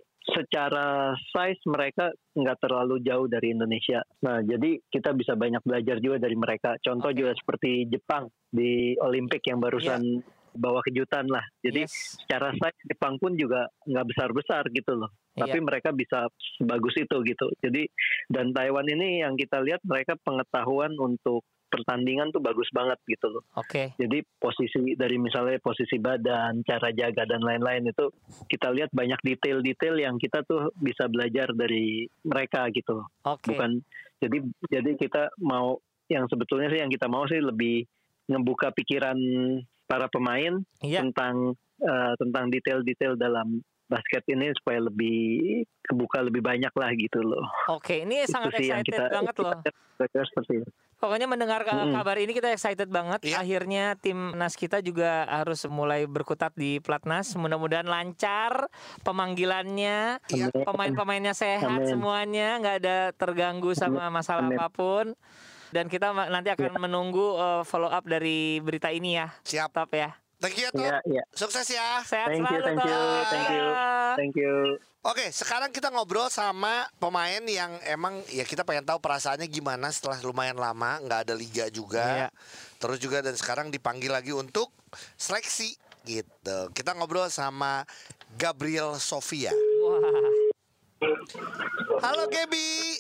E: secara size mereka nggak terlalu jauh dari Indonesia. Nah, jadi kita bisa banyak belajar juga dari mereka. Contoh juga seperti Jepang di Olimpik yang barusan bawa kejutan lah. Jadi
A: Yes.
E: secara size Jepang pun juga nggak besar-besar gitu loh. Tapi mereka bisa sebagus itu gitu. Jadi dan Taiwan ini yang kita lihat mereka pengetahuan untuk pertandingan tuh bagus banget gitu loh.
A: Oke.
E: Jadi posisi dari misalnya posisi badan, cara jaga dan lain-lain itu kita lihat banyak detail-detail yang kita tuh bisa belajar dari mereka gitu. loh.
A: Oke.
E: Bukan jadi jadi kita mau yang sebetulnya sih yang kita mau sih lebih membuka pikiran para pemain
A: Iya.
E: tentang eh, tentang detail-detail dalam basket ini supaya lebih kebuka lebih banyak lah gitu loh.
A: Oke, ini
E: Itu
A: sangat
E: sih yang
A: excited
E: kita
A: banget loh.
E: kita seperti itu.
A: Pokoknya mendengar uh,
E: Mm-mm.
A: kabar ini kita excited banget.
B: Iya.
A: Akhirnya timnas kita juga harus mulai berkutat di pelatnas. Mudah-mudahan lancar pemanggilannya,
B: Iya.
A: pemain-pemainnya sehat
E: Amin.
A: semuanya, nggak ada terganggu sama masalah
E: Amin. Iya.
A: apapun. Dan kita ma- nanti akan menunggu uh, follow up dari berita ini ya,
B: Siap.
A: top ya.
B: Thank you ya, Top.
E: Iya, iya.
B: Sukses ya.
A: Sehat
E: Thank you,
A: selalu,
E: thank you,
A: Tom.
E: thank you, thank you.
B: Oke, sekarang kita ngobrol sama pemain yang emang ya kita pengen tahu perasaannya gimana setelah lumayan lama nggak ada liga
A: Iya.
B: juga. Terus juga dan sekarang dipanggil lagi untuk seleksi gitu. Kita ngobrol sama Gabriel Sofia.
A: Wah.
B: Halo Gabi.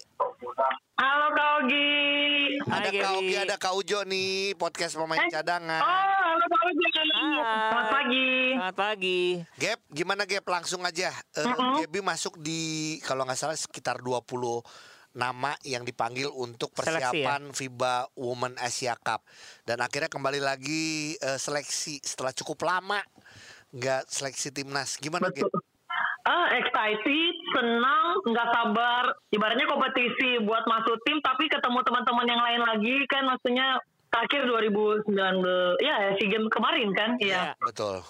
F: Halo Kogi.
A: Hai,
B: Ada Kak Ogi,
A: Gabi.
B: ada Kak Ujo nih, podcast pemain cadangan.
F: Oh, halo Kogi. Selamat
A: Hai.
F: pagi.
A: Selamat pagi.
B: Gap, gimana Gap? Langsung aja. Eh,
F: Mm-mm.
B: Gabi masuk di kalau nggak salah sekitar 20 nama yang dipanggil untuk
A: Seleksi, ya?
B: persiapan FIBA Women Asia Cup. Dan akhirnya kembali lagi eh, seleksi setelah cukup lama nggak seleksi timnas. Gimana Gap?
F: Ah, excited, senang, nggak sabar. Ibaratnya kompetisi buat masuk tim, tapi ketemu teman-teman yang lain lagi kan maksudnya terakhir 2019, ya SEA Games kemarin kan, ya.
A: Iya.
B: Betul.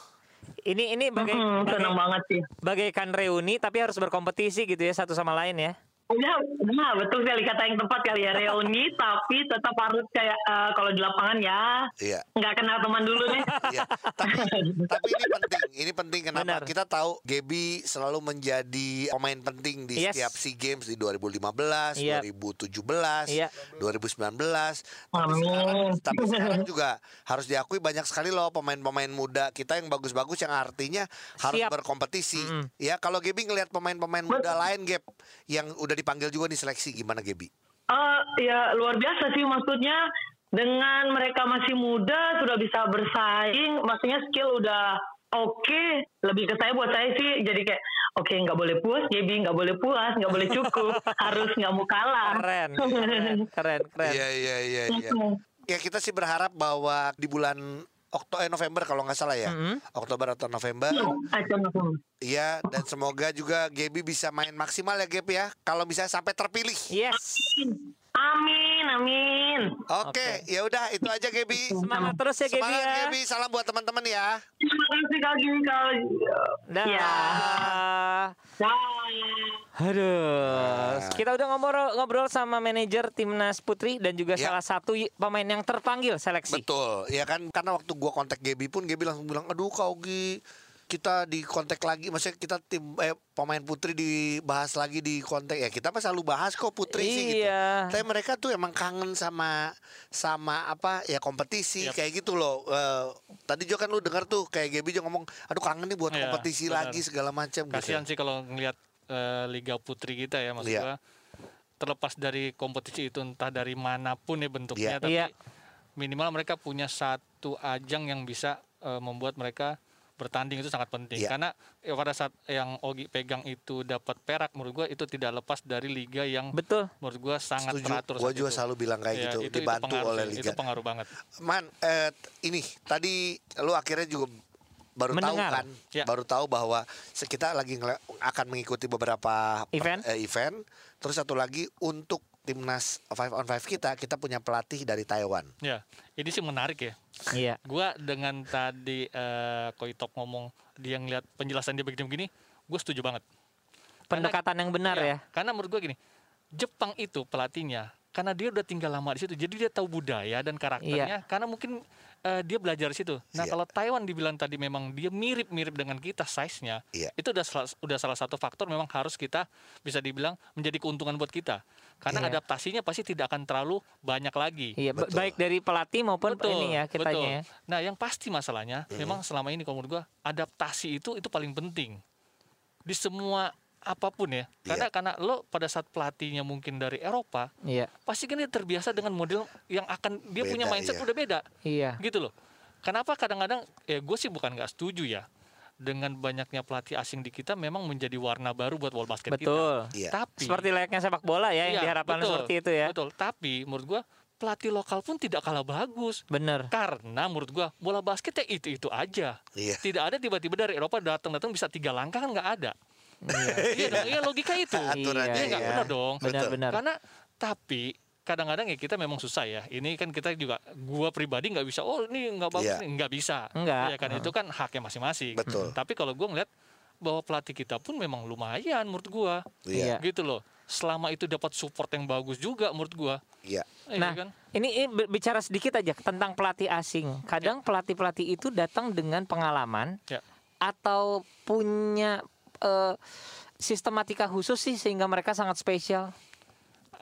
A: Ini ini bagai,
F: Mm-mm,
A: bagai-
F: senang banget sih.
A: bagaikan reuni tapi harus berkompetisi gitu ya satu sama lain ya.
F: Ya, nah betul sekali kata yang tepat kali ya reuni, tapi tetap harus kayak eh, kalau di lapangan ya
B: Iya.
F: nggak kenal teman dulu deh.
B: Iya. Tapi, tapi ini penting, ini penting kenapa?
A: Benar.
B: Kita tahu Gaby selalu menjadi pemain penting di
A: Yes.
B: setiap SEA Games di 2015,
A: Iya.
B: 2017,
A: Iya.
B: 2019. Tapi
F: Amin.
B: sekarang, tapi sekarang juga harus diakui banyak sekali loh pemain-pemain muda kita yang bagus-bagus yang artinya harus
A: Siap.
B: berkompetisi.
A: Mm.
B: Ya, kalau Gaby ngelihat pemain-pemain muda lain Gap yang udah dipanggil juga di seleksi gimana Gaby?
F: Eh, ya luar biasa sih maksudnya dengan mereka masih muda sudah bisa bersaing, maksudnya skill udah oke. Lebih ke saya buat saya sih jadi kayak oke nggak boleh puas, jadi nggak boleh puas, nggak boleh cukup, harus nggak mau kalah.
A: Keren, keren, keren, keren.
B: Iya, iya, iya, iya. Ya kita sih berharap bahwa di bulan Oktober November kalau nggak salah ya.
A: Mm-mm.
B: Oktober atau November.
F: Acan aku.
B: Iya, dan semoga juga Gaby bisa main maksimal ya Gaby ya. Kalau misalnya sampai terpilih.
A: Yes.
F: Amin, amin.
A: Oke.
B: Oke, ya udah itu aja Gaby.
A: Semangat terus ya Gaby
B: Semangat
A: ya.
B: Gaby, salam buat teman-teman ya.
F: Terima kasih Kak Gini Kak.
A: Dah.
F: Ya. Bye.
A: Aduh,
B: Nah.
A: kita udah ngobrol ngobrol sama manajer timnas putri dan juga
B: Ya.
A: salah satu y- pemain yang terpanggil seleksi.
B: Betul, ya kan karena waktu gua kontak Gaby pun Gaby langsung bilang, "Aduh, Kak Ogi, kita di kontak lagi, maksudnya kita tim eh, pemain putri dibahas lagi di kontak ya. Kita mah selalu bahas kok putri sih gitu.
C: Ah.
A: Iya.
B: Tapi mereka tuh emang kangen sama sama apa ya kompetisi
C: Yap.
B: kayak gitu loh. Eh, tadi juga kan lu dengar tuh kayak Gaby juga ngomong, aduh kangen nih buat
C: Iya,
B: kompetisi
C: benar.
B: lagi segala macam gitu.
C: Kasihan sih kalau ngelihat eh, Liga Putri kita ya maksud
B: Iya.
C: gua. Terlepas dari kompetisi itu entah dari manapun ya bentuknya
B: Iya.
C: tapi
A: Iya.
C: minimal mereka punya satu ajang yang bisa eh, membuat mereka bertanding itu sangat penting
B: Iya.
C: karena eh, pada saat yang Ogi pegang itu dapat perak menurut gua itu tidak lepas dari liga yang
A: Betul.
C: menurut gua sangat
B: Setuju.
C: teratur
B: Gua
C: saat
B: juga
C: itu.
B: selalu bilang kayak
C: Iya,
B: gitu,
C: itu- itu
B: dibantu
C: pengaruh
B: oleh
C: sih,
B: liga.
C: itu pengaruh banget
B: Man, eh, t- ini tadi lu akhirnya juga baru
A: Mendengar.
B: tahu kan,
C: Ya.
B: baru tahu bahwa se- kita lagi ngele- akan mengikuti beberapa per-
A: Event.
B: eh, event. Terus satu lagi untuk timnas five on five kita, kita punya pelatih dari Taiwan.
C: ya ini sih menarik ya
A: Iya.
C: gua dengan tadi eh Koitok ngomong dia ngeliat penjelasan dia begini-begini gue setuju banget
A: Pendekatan yang benar ya.
C: Iya, Karena menurut gue gini, Jepang itu pelatihnya karena dia udah tinggal lama di situ jadi dia tahu budaya dan
A: Iya.
C: karakternya karena mungkin eh, dia belajar di situ nah
B: Iya.
C: kalau Taiwan dibilang tadi memang dia mirip-mirip dengan kita size nya
B: Iya.
C: itu udah salah, udah salah satu faktor memang harus kita bisa dibilang menjadi keuntungan buat kita karena
A: Iya.
C: adaptasinya pasti tidak akan terlalu banyak lagi
A: Iya, ba-
B: Betul.
A: baik dari pelatih maupun ini ya kitanya ya. Hmm.
C: betul. Nah, yang pasti masalahnya memang selama ini kalau menurut gua adaptasi itu itu paling penting. Di semua apapun ya. Karena karena lo pada saat pelatihnya mungkin dari Eropa,
A: Iya.
C: pasti kan dia terbiasa dengan model yang akan dia punya
B: Beda,
C: mindset
B: iya.
C: udah beda.
A: Iya.
C: Gitu loh. Kenapa kadang-kadang ya gue sih bukan nggak setuju ya dengan banyaknya pelatih asing di kita memang menjadi warna baru buat wall basket
A: Betul.
C: kita.
B: Iya.
C: Tapi
A: Seperti layaknya sepak bola ya yang
C: Iya,
A: diharapkan
C: betul,
A: seperti itu ya.
C: Betul. Tapi menurut gua pelatih lokal pun tidak kalah bagus.
A: Bener.
C: Karena menurut gua bola basket ya itu itu aja.
B: Iya.
C: Tidak ada tiba-tiba dari Eropa datang datang bisa tiga langkah kan nggak ada. Iya dong. Iya logika itu.
B: Aturannya
C: Iya nggak
B: ya.
C: benar dong.
B: Betul.
A: Benar-benar.
C: Karena tapi kadang-kadang ya kita memang susah ya. Ini kan kita juga gua pribadi nggak bisa. Oh ini nggak bagus,
B: Iya.
C: nih. nggak bisa.
A: Nggak.
C: Iya kan itu kan haknya masing-masing. Hmm.
B: Betul.
C: Tapi kalau gua ngeliat bahwa pelatih kita pun memang lumayan menurut gua.
A: Iya.
C: Gitu loh. Selama itu dapat support yang bagus juga menurut gua.
B: Iya.
C: Iya
A: Nah,
C: kan?
A: ini, ini be- bicara sedikit aja tentang pelatih asing. Kadang pelatih-pelatih itu datang dengan pengalaman
C: Ya.
A: atau punya eh, sistematika khusus sih sehingga mereka sangat spesial.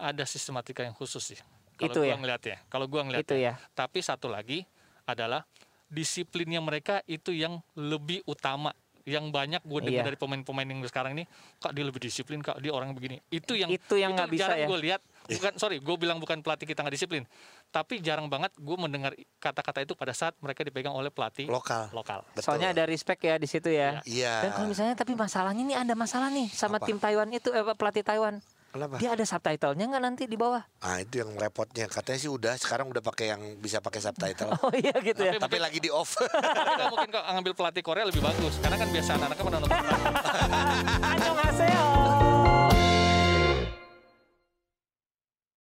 C: ada sistematika yang khusus sih. Kalau
A: Itu
C: gua
A: ya?
C: ngeliat ya. Kalau gua ngeliat
A: Itu ya.
C: Tapi satu lagi adalah disiplinnya mereka itu yang lebih utama yang banyak gue dengar
A: Iya.
C: dari pemain-pemain yang sekarang ini kak dia lebih disiplin kak dia orang begini itu yang
A: Itu yang nggak bisa
C: jarang
A: ya?
C: gue lihat bukan sorry gue bilang bukan pelatih kita nggak disiplin tapi jarang banget gue mendengar kata-kata itu pada saat mereka dipegang oleh pelatih
B: Lokal.
C: lokal
B: Betul.
A: Soalnya ada respect ya di situ ya.
B: Iya.
A: Dan kalau misalnya tapi masalahnya nih ada masalah nih sama
B: Apa?
A: tim Taiwan itu eh, pelatih Taiwan.
B: Kenapa?
A: Dia ada subtitlenya nggak nanti di bawah?
B: Ah itu yang repotnya. Katanya sih udah sekarang udah pakai yang bisa pakai subtitle.
A: Oh iya gitu ya.
B: Tapi lagi di off.
C: tapi nggak kan mungkin kok ngambil pelatih Korea lebih bagus karena kan biasa anak-anak menonton
A: Annyeonghaseyo.